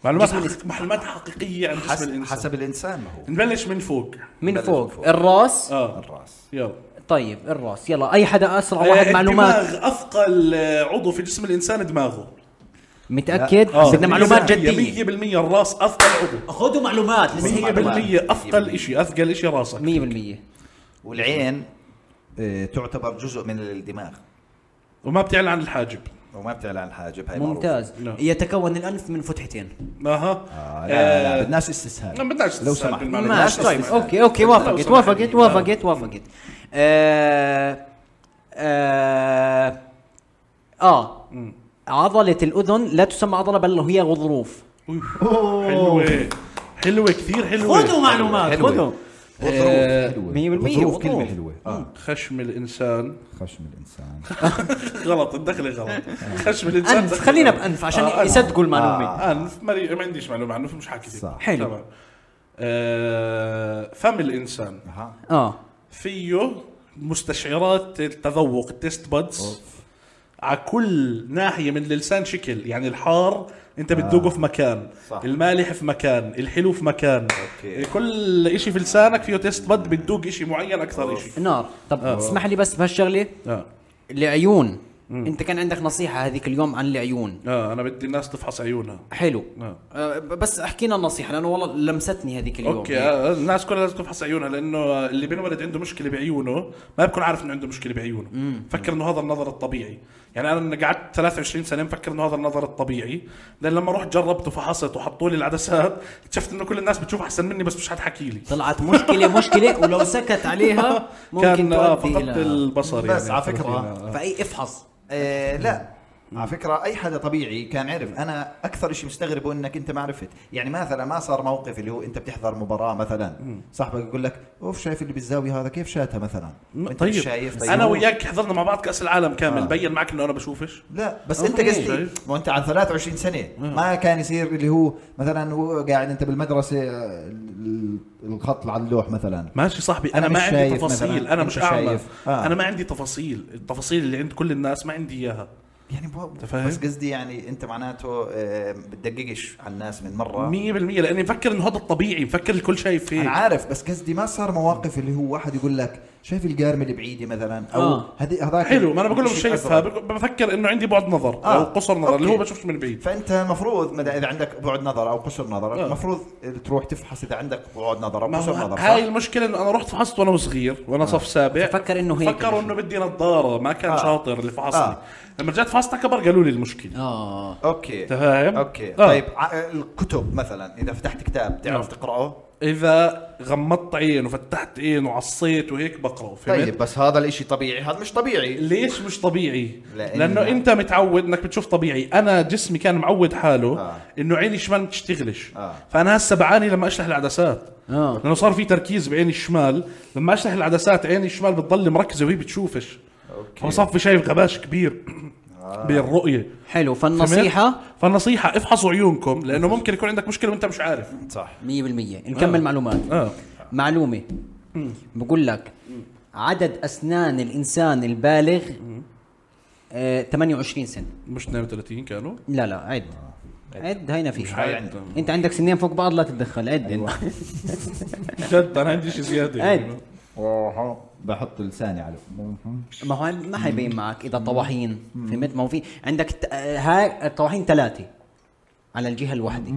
C: معلومات حقيقية- معلومات حقيقيه عن جسم
A: حسب,
C: الانسان
A: حسب الانسان ما هو
C: نبلش من فوق
B: من
A: بلش
B: فوق
A: من فوق.
B: الراس
A: آه.
C: اه
A: الراس
C: يلا
B: طيب الراس يلا اي حدا اسرع
C: آه،
B: واحد
C: الدماغ
B: معلومات
C: اثقل آه، عضو في جسم الانسان دماغه
B: متاكد
C: آه،
B: بدنا معلومات
C: 100%
B: جديه
C: 100% الراس اثقل عضو
B: خذوا معلومات
C: 100% اثقل شيء اثقل شيء راسك
B: 100%
A: والعين آه، تعتبر جزء من الدماغ
C: وما بتعلن عن الحاجب
A: وما بتعلى عن الحاجب هاي
B: ممتاز
C: لا.
B: يتكون الانف من فتحتين
C: اها
A: معروفة. آه لا لا
C: آه،
A: لا بدناش استسهال
C: ما بدناش
A: لو
C: تستسهل
A: سمحت.
C: بالمعلومات.
B: ماشي
A: لا،
B: طيب
A: لا، لا.
B: اوكي اوكي وافقت وافقت وافقت وافقت آه، آه، اه عضلة الأذن لا تسمى عضلة بل هي غضروف
C: حلوه حلوه كثير حلوه
B: معلومات
A: حلوة.
B: خذوا
A: وظروف حلوة.
B: 100%
A: وظروف كلمة
B: وظروف.
A: حلوة اه
C: خشم الانسان
A: خشم الانسان
C: غلط الدخله غلط خشم الانسان
B: أنف
C: دخلة
B: خلينا
C: غلط.
B: بأنف عشان
C: آه، أنف.
B: يصدقوا المعلومة
A: آه.
C: انف ما لي- ما عنديش معلومه عنه مش حاكي فيه.
A: صح.
B: حلو.
C: تمام. آه، فم الانسان
A: أها.
B: اه
C: فيه مستشعرات التذوق التيست بادز على كل ناحيه من اللسان شكل يعني الحار انت بتذوقه في مكان
A: آه. صح.
C: المالح في مكان الحلو في مكان
A: أوكي.
C: كل إشي في لسانك فيه تيست باد بتذوق إشي معين اكثر إشي
B: نار طب اسمح لي بس بهالشغله
C: آه.
B: العيون انت كان عندك نصيحه هذيك اليوم عن العيون
C: اه انا بدي الناس تفحص عيونها
B: حلو
C: آه.
B: آه، بس احكينا النصيحه لانه والله لمستني هذيك اليوم
C: اوكي آه. الناس كلها لازم تفحص عيونها لانه اللي بينولد عنده مشكله بعيونه ما بكون عارف انه عنده مشكله بعيونه فكر انه هذا النظر الطبيعي يعني انا أنا قعدت 23 سنه مفكر انه هذا النظر الطبيعي لان لما رحت جربت وفحصت وحطوا لي العدسات اكتشفت انه كل الناس بتشوف احسن مني بس مش حتحكي لي
B: طلعت مشكله مشكله ولو سكت عليها ممكن
C: كان آه،
B: تؤدي
C: فقدت
B: الى
C: البصر
A: بس
C: يعني
A: على فكرة،
B: فاي افحص
A: آه لا على فكرة أي حدا طبيعي كان عرف أنا أكثر شيء مستغربه إنك أنت ما عرفت، يعني مثلا ما صار موقف اللي هو أنت بتحضر مباراة مثلا صاحبك يقول لك أوف شايف اللي بالزاوية هذا كيف شاتها مثلا؟
C: م-
A: أنت
C: طيب
A: مش شايف طيب
C: انا
A: هو-
C: وياك حضرنا مع بعض كاس العالم
A: آه.
C: كامل بين معك انه انا بشوفش
A: لا بس
C: آه،
A: انت قصدي
C: طيب.
A: ما انت على 23 سنه ما كان يصير اللي هو مثلا هو قاعد انت بالمدرسه آه، ال- الخط على اللوح مثلا
C: ماشي صاحبي انا,
A: أنا
C: ما
A: مش
C: عندي
A: شايف
C: تفاصيل
A: مثلاً.
C: انا
A: أنت
C: مش اعمى
A: شايف. آه.
C: انا ما عندي تفاصيل التفاصيل اللي عند كل الناس ما عندي اياها
A: يعني ب-
C: أنت فاهم؟
A: بس قصدي يعني انت معناته آه، بتدققش على الناس من مره
C: 100% لاني مفكر انه هذا الطبيعي مفكر الكل شايف فيه
A: انا عارف بس قصدي ما صار مواقف اللي هو واحد يقول لك شايف القارمه اللي بعيدي مثلا او
B: آه.
A: هذي هذاك
C: حلو ما انا بقول لهم
A: الشيء
C: شايفها
A: الأزرق.
C: بق- بفكر انه عندي بعد نظر
A: آه.
C: او قصر نظر اللي هو
A: أوكي.
C: بشوفش من بعيد
A: فانت المفروض مدى- اذا عندك بعد نظر او قصر نظر
C: آه.
A: المفروض تروح تفحص اذا عندك بعد نظر او
C: ما
A: قصر
C: هو
A: نظر
C: هاي
A: صح؟
C: المشكله انه انا رحت فحصت وانا صغير وانا صف سابع
B: فكر إنه هيك
C: فكروا انه بدي نظاره ما كان
A: آه.
C: شاطر اللي فحصني
A: آه.
C: لما رجعت فحصت على كبر قالوا لي المشكله
B: اه
A: اوكي
C: أنت فاهم
A: اوكي
C: آه. نعم.
A: طيب ع- الكتب مثلا اذا فتحت كتاب تعرف تقراه
C: اذا غمضت عين وفتحت عين وعصيت وهيك بقرا فهمت
A: طيب بس هذا الاشي طبيعي هذا مش طبيعي
C: ليش مش طبيعي؟
A: لأن-
C: لأن... لانه انت متعود انك بتشوف طبيعي، انا جسمي كان معود حاله
A: آه.
C: آه. انه عيني الشمال ما بتشتغلش،
A: آه.
C: آه. فانا هسه بعاني لما اشلح العدسات،
B: آه.
C: لانه صار في تركيز بعيني الشمال، لما اشلح العدسات عيني الشمال بتضل مركزه وهي بتشوفش،
A: اوكي
C: فصار في شايف غباش كبير آه. بالرؤيه
B: حلو فالنصيحه
C: فهمت؟ فالنصيحه افحصوا عيونكم لانه ممكن يكون عندك مشكله وانت مش عارف
B: 100% نكمل معلومات
C: اه
B: معلومه بقول لك عدد اسنان الانسان البالغ آه 28 سنه
C: مش 32 كانوا
B: لا لا عد
C: آه،
B: عد هينا في
A: هاي عنده
B: انت عندك سنين فوق بعض لا تتدخل عد انت
C: جد انا عندي شيء زياده
B: عد
D: بحط لساني على
B: ما هو ما حيبين معك اذا طواحين فهمت ما هو في عندك ت- آه، هاي الطواحين ثلاثه على الجهه الواحده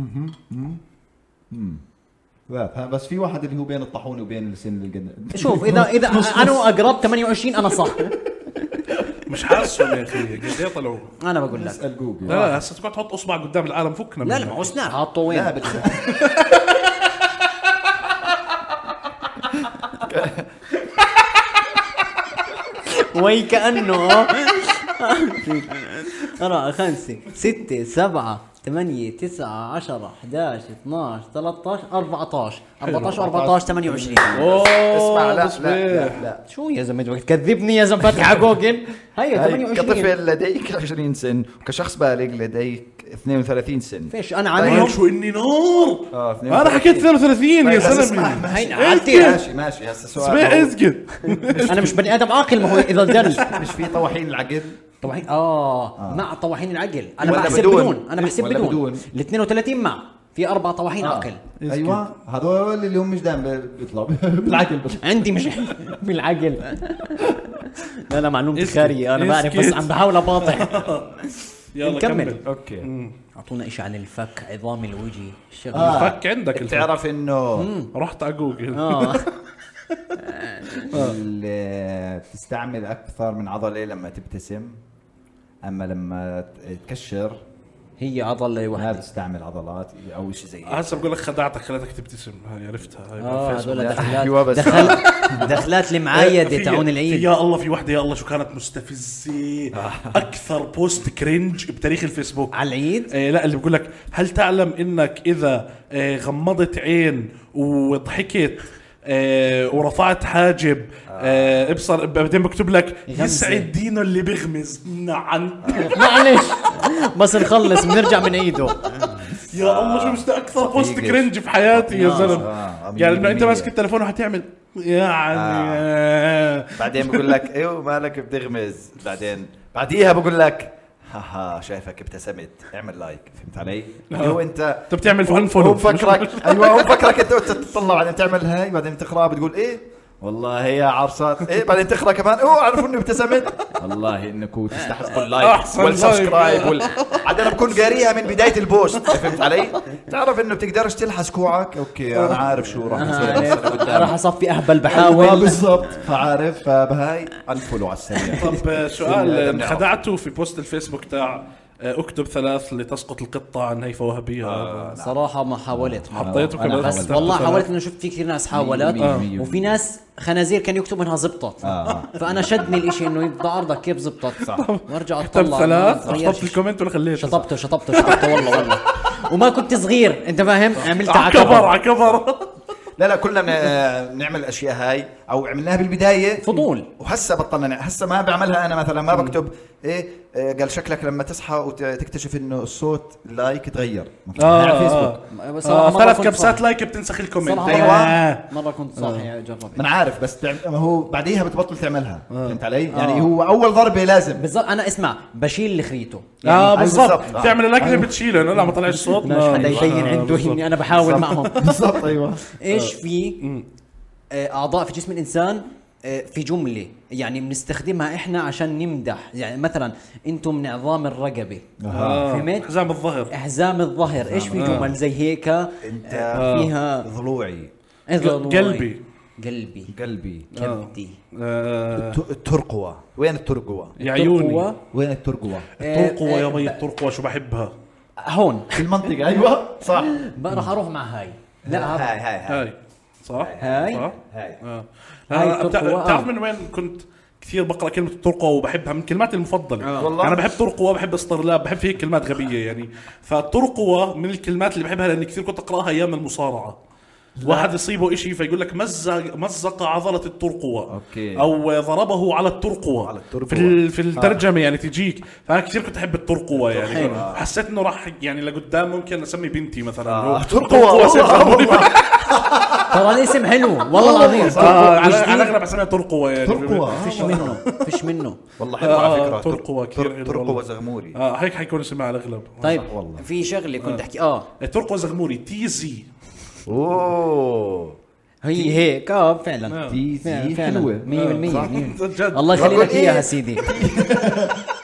D: فاف. ها، بس في واحد اللي هو بين الطاحونه وبين السن اللي قد
B: شوف اذا اذا انا واقرب 28 انا صح
C: مش حاسهم يا اخي قد ايه طلعوا
B: انا بقول لك
D: اسال جوجل
C: لا لا هسه تقعد تحط اصبع قدام العالم فكنا
B: لا لا
C: منها.
B: ما هو سناب حاطه وين
A: لا بت...
B: وي كانه أربعة خمسة ستة سبعة ثمانية تسعة عشرة 11 12 13 14 14 14 28
A: اسمع لا لا
C: تصبيح.
A: لا, لا.
B: شو يا زلمة بدك تكذبني يا زلمة فاتح على جوجل هي
A: هاي
B: 28
A: طيب، كطفل لديك 20 سن وكشخص بالغ لديك 32 سن
B: فيش انا
A: طيب.
B: عامل
C: شو اني نار
A: آه،
C: انا حكيت 32 يا
A: بس
C: زلمه
A: اسمع،
B: هين
A: ماشي
B: عدي
A: ماشي ماشي هسه
C: اسمع
A: سؤال هو-
C: اسكت
B: انا مش بني ادم عاقل ما هو اذا دل
A: مش في طواحين العقل
B: طواحين اه مع طواحين العقل انا
A: آه. ولا
B: بحسب
A: بدون.
B: بدون انا بحسب
A: ولا
B: بدون
A: بدون. آه.
B: ال 32 مع في اربع طواحين عقل
D: ايوه
A: أيوة.
D: هذول اللي هم مش دائما بيطلعوا بالعقل بس
B: عندي مش بالعقل لا لا معلومتي
C: اسكت.
B: خارية انا بعرف بس
C: اسكت.
B: عم بحاول اباطح
C: يلا
B: نكمل.
C: كمل اوكي
B: اعطونا اشي عن الفك عظام الوجه الشغل
D: آه.
C: فك عندك الفك.
A: بتعرف انه
C: رحت على جوجل
B: اه
A: اللي بتستعمل اكثر من عضله لما تبتسم اما لما ت- تكشر
B: هي عضلة
A: ما
B: وحدة
A: بتستعمل عضلات او شيء زي هيك.
C: هسه بقول لك خدعتك خلتك تبتسم هاي عرفتها هاي
B: اه
C: بالفيسبوك.
B: هذول
A: أيوة،
B: دخلات
A: بس-
B: دخل دخلات
C: في-
B: المعايدة تاعون العيد
C: يا الله في وحده يا الله شو كانت مستفزه اكثر بوست كرنج بتاريخ الفيسبوك
B: على العيد
C: آه لا اللي بقول لك هل تعلم انك اذا آه غمضت عين وضحكت آه ورفعت حاجب آه ابصر بعدين بكتب لك
B: يغمزة.
C: يسعد دينه اللي بيغمز نعم
B: آه. معلش بس نخلص بنرجع من عيده
C: يا الله شو مست اكثر بوست
A: صديقي.
C: كرنج بحياتي يا زلمه
A: آه، مية
C: يعني انه انت
A: بالمية.
C: ماسك التليفون وحتعمل يعني آه.
A: بعدين بقول لك ايوه مالك بتغمز بعدين بعديها بقول لك هاها شايفك ابتسمت اعمل لايك فهمت علي؟
C: آه.
A: إيوه، اللي هو انت
C: انت بتعمل أيوة، فن
A: هو
C: فولو
A: مفكرك ايوه هو مفكرك انت وانت تطلع بعدين تعمل هاي بعدين تقراها بتقول ايه والله يا عرصات ايه بعدين تقرا كمان اوه عرفوا اني ابتسمت والله انكم تستحقوا اللايك
C: أحسن
A: والسبسكرايب وال... عاد انا بكون قاريها من بدايه البوست فهمت علي؟ تعرف انه بتقدرش تلحس كوعك اوكي انا عارف شو راح يصير بس أنا قدام.
B: راح اصفي اهبل
A: ايوه
B: بحاول
A: بالضبط فعارف فبهاي انفولو على السريع
C: طب آه،
A: هذا
C: سؤال
A: بنعرف.
C: خدعته في بوست الفيسبوك تاع آه، اكتب ثلاث لتسقط القطه عن هيفا وهبيه
B: صراحة ما حاولت ما
C: حطيته
B: أنا
C: كمان
B: بس والله حاولت انه شفت في كثير ناس حاولت
D: مية مية
B: وفي ناس خنازير كانوا يكتبوا انها زبطت فانا شدني الاشي انه يبدا عرضك كيف زبطت صح وارجع
C: كتبت
B: اطلع
C: ثلاث
B: ما
C: حطيت
B: تغيرش.
C: الكومنت ولا خليته
B: شطبته شطبته شطبته والله والله وما كنت صغير انت فاهم عملتها
C: على
B: على
C: آه، كبر
B: كبر
C: على كبر
A: لا لا كلنا بن- بنعمل الاشياء هاي او عملناها بالبدايه
B: فضول.
A: وهسه بطلنا نع- هسه ما بعملها انا مثلا ما بكتب ايه آه، قال شكلك لما تصحى وتكتشف انه الصوت لايك تغير
C: اه
A: على فيسبوك.
C: آه.
B: بس
C: آه
B: صراحة مرة
C: ثلاث
B: كنت
C: كبسات لايك بتنسخ الكومنت
B: صراحة
A: أيوة.
C: آه.
B: مره كنت صاحي اجرب
A: ما انا عارف بس تعم... ما هو بعديها بتبطل تعملها
B: آه.
A: فهمت علي؟ يعني هو اول ضربه لازم
B: بالضبط انا اسمع بشيل اللي خليته
C: اه
A: أيوة
C: بالضبط
A: بالضبط.
C: تعمل الاكله بتشيله انا لا ما طلعش صوت آه،
B: مش
C: ما-
B: يعني حدا يبين عنده اني انا بحاول معهم أيوة.
D: بالضبط ايوه
B: ايش في آه، اعضاء في جسم الانسان آه، في جمله يعني بنستخدمها احنا عشان نمدح يعني مثلا انتم من عظام الرقبه
C: آه.
B: فهمت
C: حزام الظهر
B: احزام الظهر ايش في
C: آه.
B: جمل زي هيك
A: انت
B: آه، فيها
A: ضلوعي
C: قلبي.
B: قلبي
A: قلبي
B: كبدي
C: آه.
A: الت- الترقوة وين الترقوة؟
C: يا عيوني
A: وين الترقوة؟
C: الطرقوة يا مي الطرقوة شو بحبها
B: هون
A: في المنطقة ايوه صح
B: بقى راح اروح مع هاي
C: آه.
B: لا آه. هذا
A: هاي هاي
C: هاي صح
B: هاي.
C: صح؟
A: آه. هاي
C: آه.
B: هاي
C: أنا بتع-
B: الطرقوة، آه.
C: بتعرف من وين كنت كثير بقرا كلمة الطرقوة وبحبها من كلماتي المفضلة
A: آه. والله.
C: انا بحب طرقوة بحب اسطرلاب بحب هيك كلمات غبية يعني فالطرقوة من الكلمات اللي بحبها لاني كثير كنت اقراها ايام المصارعة واحد يصيبه إشي فيقول لك مزق مزق عضلة الترقوة
A: أوكي.
C: او ضربه على الترقوة
A: على آه. الترقوة.
C: في ال- في الترجمة يعني تجيك فانا كثير كنت احب الترقوة يعني حسيت انه راح يعني لقدام ممكن اسمي بنتي مثلا
A: آه.
C: هو
A: ترقوة والله
B: ترى الاسم حلو والله العظيم
C: آه على على الاغلب اسميها ترقوة يعني
D: ترقوة
B: فيش منه فيش منه
A: والله حلو على
C: آه،
A: فكرة
C: ترقوة كثير
A: تر-
C: حلو
A: ترقوة
C: والله.
A: زغموري
C: اه هيك حيكون اسمها على الاغلب
A: صح
B: طيب
A: والله.
B: في شغله كنت
C: آه.
B: احكي اه
C: ترقوة زغموري تي زي
A: اوه
B: هي هيك اه فعلا
A: تي زي
B: فعلا
A: حلوة
C: آه.
B: 100%
C: جد
B: الله يخلي
A: والله
B: لك اياها
A: إيه؟
B: سيدي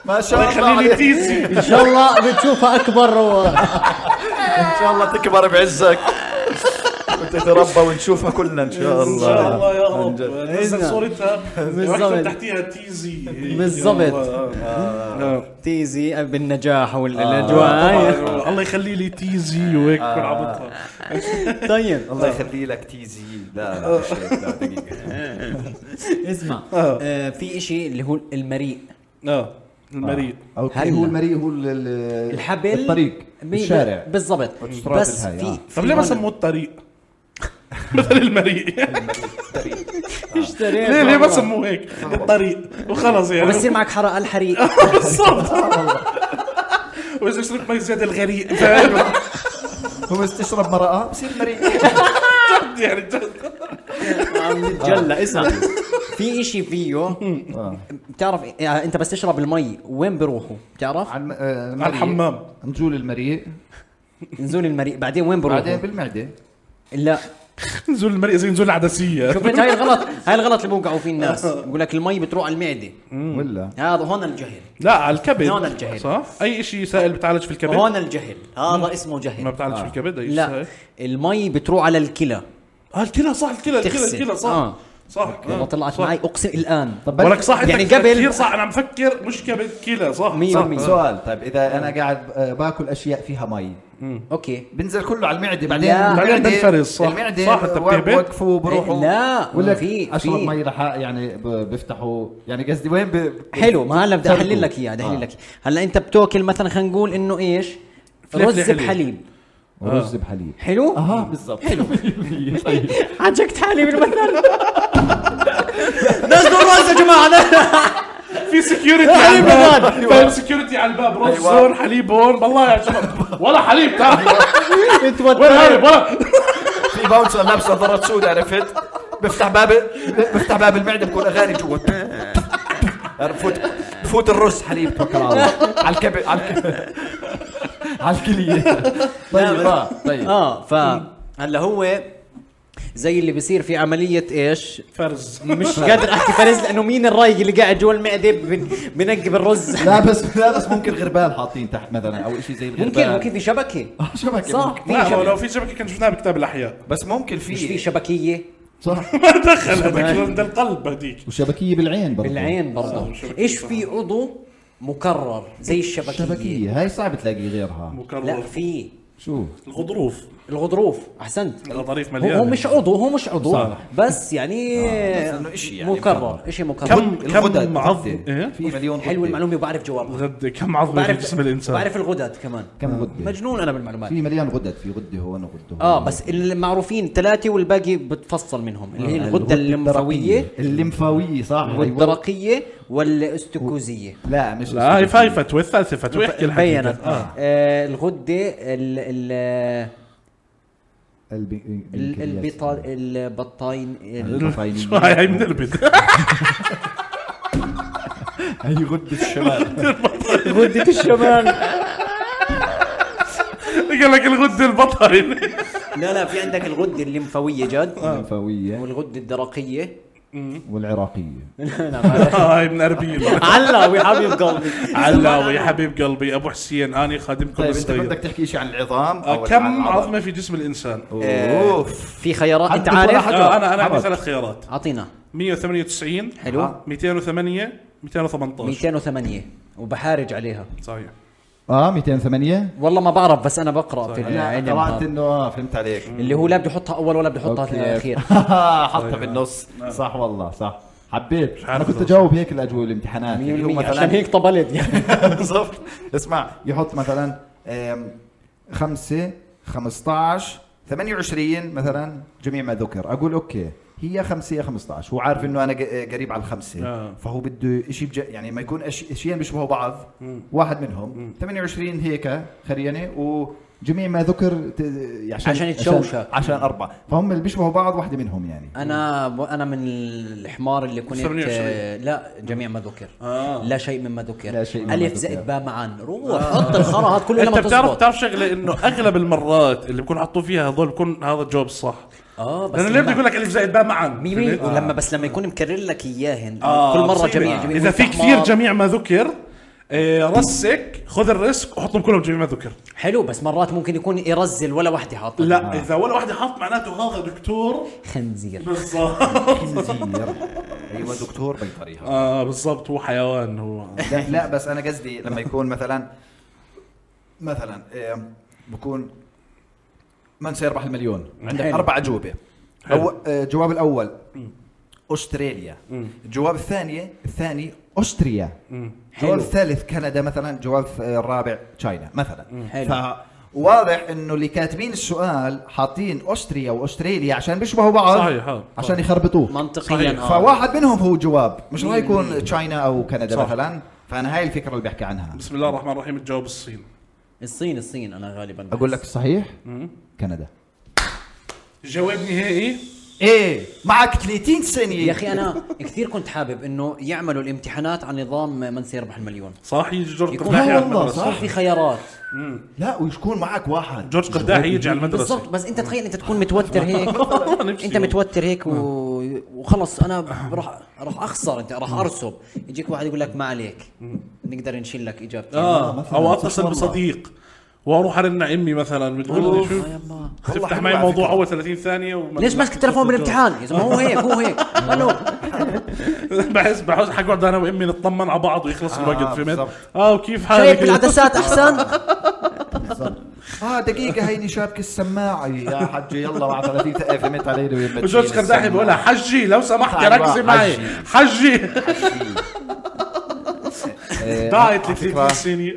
A: ما شاء الله
C: يخلي لي
A: عليك.
C: تي زي
F: ان شاء الله بتشوفها اكبر و...
A: ان شاء الله تكبر بعزك وتتربى ونشوفها كلنا ان شاء
C: ان شاء
A: الله
C: الله يا
A: عن
C: رب
A: جد.
C: نزل صورتها واكتب
B: إيه، نعم. بالضبط.
C: تحتيها تي زي إيه،
B: بالضبط.
C: آه،
B: تيزي بالنجاح أيوه. والاجواء
C: الله يخلي لي تي زي وهيك
A: آه.
C: بكون عبطها
B: طيب
A: الله يخلي لك تي زي لا لا مش هيك، لا دقيقة
B: اسمع
C: آه.
B: آه، في اشي اللي هو المريء
C: اه المريء
D: اوكي
B: هلا.
D: هو المريء هو ال- ال-
B: الحبل
D: الطريق
B: بي-
D: الشارع
B: بالضبط
D: والسترات
B: بس
D: الهاي،
B: في
D: آه.
C: طب ليه ما سموه الطريق مثل المريء
B: اشتريت
C: ليه ليه ما سموه هيك الطريق وخلص يعني
B: بصير معك حرق الحريق
C: بالضبط واذا شربت مي زياده الغريق
D: هو استشرب مرأة بصير
C: يعني جد
B: عم نتجلى اسمع آه. في اشي فيه بتعرف يعني انت بس تشرب المي وين بروحوا بتعرف
D: عن آه، المريء.
C: على الحمام
D: نزول المريء
B: نزول المريء بعدين وين
D: بعدين
B: بروحوا
D: بالمعدة
B: لا
C: نزول المريء زي نزول العدسيه
B: شفت هاي الغلط هاي الغلط اللي بوقعوا فيه الناس بقول لك المي بتروح على المعده
D: ولا
B: هذا هون الجهل
C: لا على الكبد
B: هون الجهل.
C: صح اي شيء سائل بتعالج في الكبد
B: هون الجهل هذا اسمه
C: ما
B: جهل آه.
C: بتعالج في الكبد اي شيء
B: لا
C: سائل
B: المي بتروح على الكلى
C: اه الكلى صح الكلى الكلى
B: تغسل.
C: الكلى صح
B: آه.
C: صح
B: والله طلعت معي اقسم الان
D: طب
C: ولك صح
B: يعني
C: انت
B: قبل-
C: كثير صح انا عم فكر مش كبد كلى صح
B: مية
C: صح.
B: بالمية.
A: سؤال طيب اذا انا قاعد آه، باكل اشياء فيها مي
B: اوكي
A: بنزل كله على المعده بعدين
B: لا.
A: المعدة-
C: بعدين بنفرز، صح.
A: المعده
C: صح، أنت
A: وق-
C: بتهبط.
A: وقفوا بروحوا
B: لا
D: ولا
B: في
D: اشرب
B: في
D: مي رح يعني ب- بفتحوا يعني قصدي وين ب-
B: حلو ما هلا بدي احلل
D: تركوا.
B: لك اياه بدي
C: آه.
B: احلل لك هلا انت بتاكل مثلا خلينا نقول انه ايش
C: فلفلة
B: رز
C: حليب.
B: بحليب آه.
D: ورز بحليب
B: حلو
D: اه بالضبط حلو
B: عجقت حالي بالمثل نزلوا الرز يا جماعه
C: في سكيورتي
B: أيوة.
C: على الباب فاهم سكيورتي على الباب رز هون حليب هون والله يا شباب ولا حليب تعال
B: أيوة.
C: وين هاي ولا
A: في باونسر لابسه نظاره سود عرفت بفتح باب بفتح باب المعده بكون اغاني جوا يعني بفوت بفوت الرز حليب توكل على الله على الكبد على الكبد
D: على الكلية طيب آه، طيب
B: اه ف هلا هو زي اللي بصير في عمليه ايش
C: فرز
B: مش قادر احكي فرز لانه مين الرايق اللي قاعد جوا المعده بن- بنقي بالرز
D: لا بس لا بس ممكن غربال حاطين تحت مثلا او شيء زي الغربال
B: ممكن ممكن في شبكه
D: آه، شبكة
B: صح
D: ممكن.
B: في
C: لا هو
B: شبكه
C: لو في شبكه كان شفناها بكتاب الاحياء
A: بس ممكن
B: مش في
A: في
B: شبكيه
D: صح
C: ما دخل هذاك ده القلب هذيك
D: وشبكية بالعين برضه
B: بالعين برضه ايش في عضو مكرر زي الشبكيه
D: شبكية هاي صعب تلاقي غيرها
C: مكرر
B: لا في
D: شو
C: الغضروف
B: الغضروف احسنت
C: الغضاريف
B: هو هو
C: مليانه
B: مش عضو هو مش عضو
C: صح.
B: بس يعني
D: بس إنه إشي يعني
B: مكرر شيء مكرر
C: كم
D: الغدد
C: كم عظم
D: غدة.
C: ايه
D: في مليون
B: حلوه
D: غدة.
B: المعلومه وبعرف جوابها
C: غد كم عظم في
B: بعرف
C: جسم الانسان
B: بعرف الغدد كمان
D: كم غده
B: مجنون انا بالمعلومات
D: في مليان غدد في غده هون وغده هون.
B: اه بس المعروفين ثلاثه والباقي بتفصل منهم اللي هي الغده الليمفاويه
A: الليمفاويه صح أيوة.
B: والدرقيه والاستكوزيه
D: لا مش
C: لا هاي هاي فتوى الثالثه فتوى احكي الحكي
B: بينت
C: ده. آه.
B: آه، الغده ال ال
A: البي...
B: ال-
A: البنكرياس.
B: البطا- البطاين ال-
D: البطاينية.
C: شو هاي هاي بنربد
A: هي غده الشمال
B: غده الشمال
C: قال لك الغده البطل
B: لا لا في عندك الغده الليمفاويه جد
A: الليمفاويه
B: والغده الدرقيه
A: والعراقيه
C: هاي من اربيل
B: علاوي حبيب قلبي
C: علاوي يا حبيب قلبي ابو حسين اني خادمكم
D: طيب انت بدك
C: الصغير
D: تحكي شيء عن العظام
C: آه،
D: أو عن
C: كم
D: العضل؟
C: عظمه في جسم الانسان؟
D: اوف
B: في خيارات انت
A: حدد ولا
B: عارف
A: حد.
C: آه انا انا عندي
A: عضل.
C: ثلاث خيارات
B: اعطينا
C: 198
B: حلو.
C: 208 218
B: 208 وبحارج عليها
C: صحيح
A: اه 208
B: والله ما بعرف بس انا بقرا في
A: لا
B: العلم
A: طلعت
B: هذا.
A: انه آه، فهمت عليك
B: اللي هو لا بده يحطها اول ولا بده يحطها
A: أوكي.
B: اخير
D: آه،
A: حطها بالنص صح والله صح حبيت انا
C: عارف
A: كنت
C: إذا-
A: اجاوب هيك الاجوبه الامتحانات اللي هو
B: 100%
A: مثلا
B: عشان هيك طبلت يعني
D: بالضبط اسمع يحط مثلا آم، خمسة 15 28 مثلا جميع ما ذكر اقول اوكي هي يا خمسة يا 15 هو عارف انه انا ق- قريب على الخمسة
C: آه.
D: فهو بده شيء بج... يعني ما يكون أش... اشيين بيشبهوا بعض واحد منهم 28 هيك خريانة وجميع ما ذكر ت... عشان
B: عشان يتشوشك.
D: عشان أربعة فهم اللي بيشبهوا بعض واحدة منهم يعني
B: انا انا من الحمار اللي كنت آه،
C: 28.
B: لا جميع ما ذكر
C: آه.
B: لا شيء مما ذكر
A: لا شيء مما
B: الف
A: ذكر.
B: زائد باء معا روح حط الخرا هذا كله
C: انت
B: لما
C: بتعرف
B: تزبط
C: بتعرف شغله انه اغلب المرات اللي بكون حطوا فيها هذول بكون هذا الجواب الصح
B: اه بس
C: لانه ليه بده يقول لك الف زائد باء معا
B: ميمي
C: فهمت؟
B: ولما بس لما يكون مكرر لك اياهن
C: آه،
B: كل مره
C: مصيبة.
B: جميع جميع
C: اذا في
B: وأنت
C: كثير
B: حمار.
C: جميع ما ذكر آه، رسك خذ الريسك وحطهم كلهم جميع ما ذكر
B: حلو بس مرات ممكن يكون يرزل ولا وحده حاطه
C: لا اذا ولا واحد حط معناته هذا دكتور
B: خنزير
C: بالضبط
D: خنزير ايوه دكتور بيطريها
C: اه بالضبط هو حيوان هو
D: لا, لا بس انا قصدي لما يكون مثلا مثلا آم، بكون من سيربح المليون عندك
B: حلو.
D: اربع اجوبه أو آه، الجواب الاول استراليا الجواب الثاني الثاني استريا الجواب
B: حلو.
D: الثالث كندا مثلا الجواب الرابع تشاينا مثلا
B: حلو.
D: واضح انه اللي كاتبين السؤال حاطين استريا واستراليا عشان بيشبهوا بعض
C: صحيح، آه.
D: عشان يخربطوه
B: منطقيا اه
D: فواحد منهم هو جواب مش راح يكون تشاينا او كندا صح. مثلا فانا هاي الفكره اللي بحكي عنها
C: بسم الله الرحمن الرحيم تجاوب الصين
B: آه. الصين الصين انا غالبا بحس.
A: اقول لك الصحيح كندا
C: جواب نهائي
D: ايه معك 30 ثانيه
B: يا اخي انا كثير كنت حابب انه يعملوا الامتحانات عن نظام من سيربح المليون
C: صح يجي جورج
B: يكون-
C: قرداحي
A: لا
C: على
A: والله،
C: المدرسه
B: صار في خيارات
D: لا ويكون معك واحد
C: جورج قرداحي يجي على
B: بالضبط
C: المدرسه
B: بس انت تخيل انت تكون متوتر هيك
C: نفسي
B: انت
C: والله.
B: متوتر هيك و... وخلص انا راح راح اخسر انت راح ارسب يجيك واحد يقول لك ما عليك نقدر نشيل لك اجابتين
C: اه
A: مثلاً،
C: او
A: صح
C: اتصل
A: والله.
C: بصديق واروح ارن على امي مثلا بتقول لي
B: أوف،
C: شوف
B: يا يما.
C: تفتح
D: حلوة
C: معي
D: على
C: موضوع
D: فكرة.
C: اول 30 ثانيه وما-
B: ليش ماسك التليفون بالامتحان يا زلمه هو هيك هو هيك الو
C: بحس بحس حقعد انا وامي نطمن على بعض ويخلص الوقت فهمت
D: آه، بالضبط.
C: اه وكيف
B: شايف
C: حالك
B: بالعدسات احسن
D: اه دقيقه هيني شابك السماعه يا حجي يلا مع 30 ثانيه فهمت علي وين
C: جورج قرداحي بقولها حجي لو سمحت
D: أيوة،
C: ركزي معي
D: حجي.
C: حجي دايت
D: على
C: لك 30
D: فكرة.
C: سنه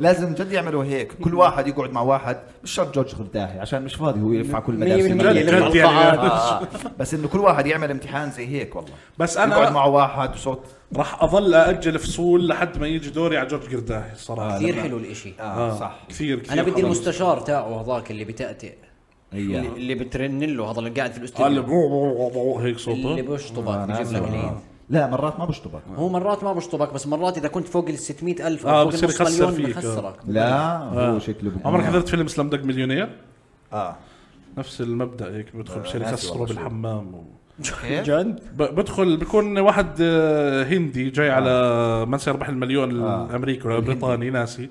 D: لازم جد يعملوا هيك كل واحد يقعد مع واحد مش شرط جورج قرداحي عشان مش فاضي هو يلف على كل المدارس
B: مية
C: جد
B: بالمية.
D: المملكة.
C: جد يعني
D: آه، بس انه كل واحد يعمل امتحان زي هيك والله
C: بس
D: يقعد
C: انا
D: معه واحد وصوت
C: راح اظل ااجل فصول لحد ما يجي دوري على جورج قرداحي صراحه
B: كثير حلو الاشي
A: آه،
D: اه صح
C: كثير كثير
B: انا بدي
C: حلو.
B: المستشار تاعه هذاك اللي بتأتئ
D: أيوه.
B: اللي, اللي بترن له هذا اللي قاعد في
C: قال لي
B: الاستوديو
C: برو برو برو هيك
B: اللي
C: صوته
A: آه،
B: بيشطبك
D: أنا
B: بيجيب لك
D: أسمع.
B: العيد
A: لا مرات ما بشطبك
B: هو مرات ما بشطبك بس مرات اذا كنت فوق ال 600 الف او فوق
C: آه، بصير
B: النص
C: يخسر
B: مليون
C: فيك، آه.
B: بخسرك
A: لا هو شكله بكون-
C: عمرك حضرت فيلم سلام دق مليونير؟
D: اه
C: نفس المبدا هيك بدخل بصير
D: آه، ناسي
C: يخسره
D: والله شو.
C: بالحمام و...
D: كيف؟
B: جد
C: يعني ب- بدخل بكون واحد آه، هندي جاي
D: آه.
C: على من سيربح المليون الامريكي ولا البريطاني ناسي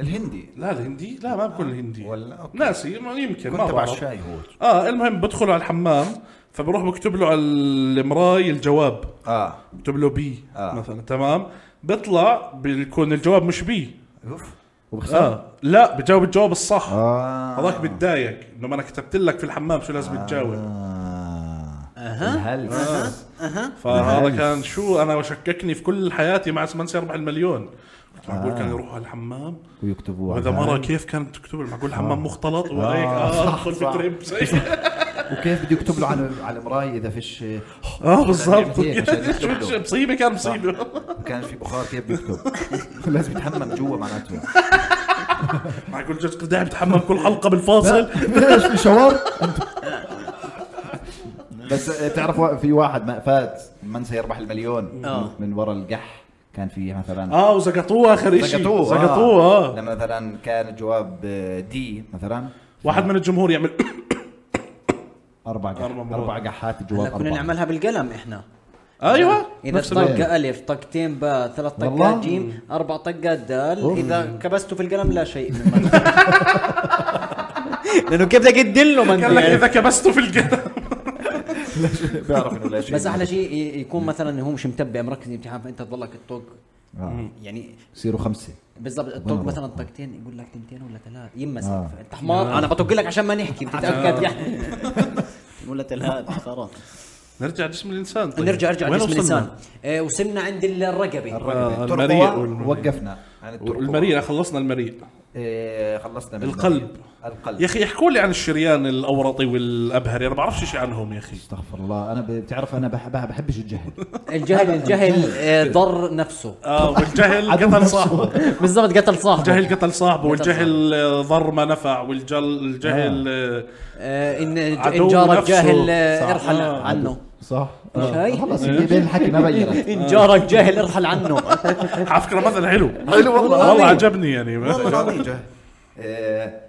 D: الهندي
C: لا الهندي لا ما بكون الهندي
D: آه. ولا أوكي.
C: ناسي ما- يمكن
D: كنت
C: ما
D: تبع
C: بعرف
D: الشاي هو
C: اه المهم بدخل على الحمام فبروح بكتب له على المراي الجواب
A: آه.
D: اه
C: بكتب له بي
D: آه.
C: مثلا تمام بيطلع بيكون الجواب مش بي
D: اوف
A: وبخسر
C: اه لا بجاوب الجواب الصح
A: آه.
C: هذاك بتضايق انه ما انا كتبت لك في الحمام شو لازم تجاوب
A: آه.
D: الهلس
C: فهذا
A: نعم.
C: كان شو انا شككني في كل حياتي مع ما انسى اربح المليون كنت معقول كان يروح على الحمام
A: ويكتبوها
C: وهذا
A: هاي.
C: مره كيف كانت تكتب معقول حمام مختلط وهيك
A: صح،
C: اه ادخل في
A: صح.
C: تريب زي-
D: وكيف بده يكتب له على على المرايه اذا فيش
C: اه بالضبط
D: عشان يكتب
C: شو-
D: له.
C: شو- مصيبه كان مصيبه
D: كان في بخار كيف بيكتب لازم يتحمم جوا معناته
C: معقول جوز قداع بتحمم كل حلقه بالفاصل
A: ليش في شاور؟
D: بس آه، تعرف في واحد ما فات ما انسى يربح المليون
C: آه.
D: من ورا القح كان في
A: آه،
D: مثلا
C: اه وزقطوه اخر شيء
D: زقطوه آه.
C: زقطوه اه
D: لما مثلا كان الجواب دي مثلا
C: واحد من الجمهور يعمل
A: اربع قح
C: أربع مرات.
A: اربع قحات
B: هلا
A: جواب
B: كنا
A: اربع
B: نعملها بالقلم احنا
C: ايوه
B: اذا
C: نفس الوقت.
B: طقه الف طقتين باء ثلاث
A: والله؟
B: طقات جيم اربع طقات دال
A: أوف.
B: اذا كبسته في القلم لا شيء مما لانه كيف بدك تدله ما
C: قال لك
B: أنت
C: اذا كبسته في القلم
D: بيعرف انه لا شيء
B: بس احلى شيء ي- يكون مثلا هو مش متبع مركز الامتحان فانت تضلك تطق
A: آه.
B: يعني
A: يصيروا خمسه
B: بالضبط تطق
A: والله.
B: مثلا طقتين يقول لك تنتين ولا ثلاث يمسك
A: آه.
B: فانت حمار انا بطق لك عشان ما نحكي بتتاكد يعني
I: ولا تلهاد خلاص
C: نرجع جسم الانسان طيب.
B: نرجع ارجع
C: وين
B: لجسم
C: وصلنا؟
B: الانسان آه، وصلنا عند الرقبه
D: الرقبة.
C: آه،
D: الترقوة
C: المريء والمريء.
D: طيب، وقفنا عن الترقوة.
C: المريء خلصنا المريء
D: إيه، خلصنا من
C: القلب.
D: القلب
C: يا اخي احكوا لي عن الشريان الاورطي والابهري انا ما بعرفش شيء عنهم يا اخي
A: استغفر الله انا ب- بتعرف انا بح- بح- بحبش الجهل
B: الجهل الجهل آه، ضر نفسه
C: اه والجهل قتل صاحبه
B: بالضبط قتل صاحبه
C: الجهل قتل صاحبه والجهل آه، ضر ما نفع والجل الجهل آه،
B: آه، ان
C: عدو
B: إن جارك
C: نفسه.
B: جاهل آه،
A: صح.
B: ارحل
C: آه.
B: عنه
A: صح
D: آه،
B: مش هاي؟
A: خلص
D: إيه،
A: اللي بين الحكي ما بينت
B: ان جارك جاهل ارحل عنه
C: آه، على فكره مثل حلو
D: حلو والله
C: والله عجبني يعني
D: والله العظيم جه آه،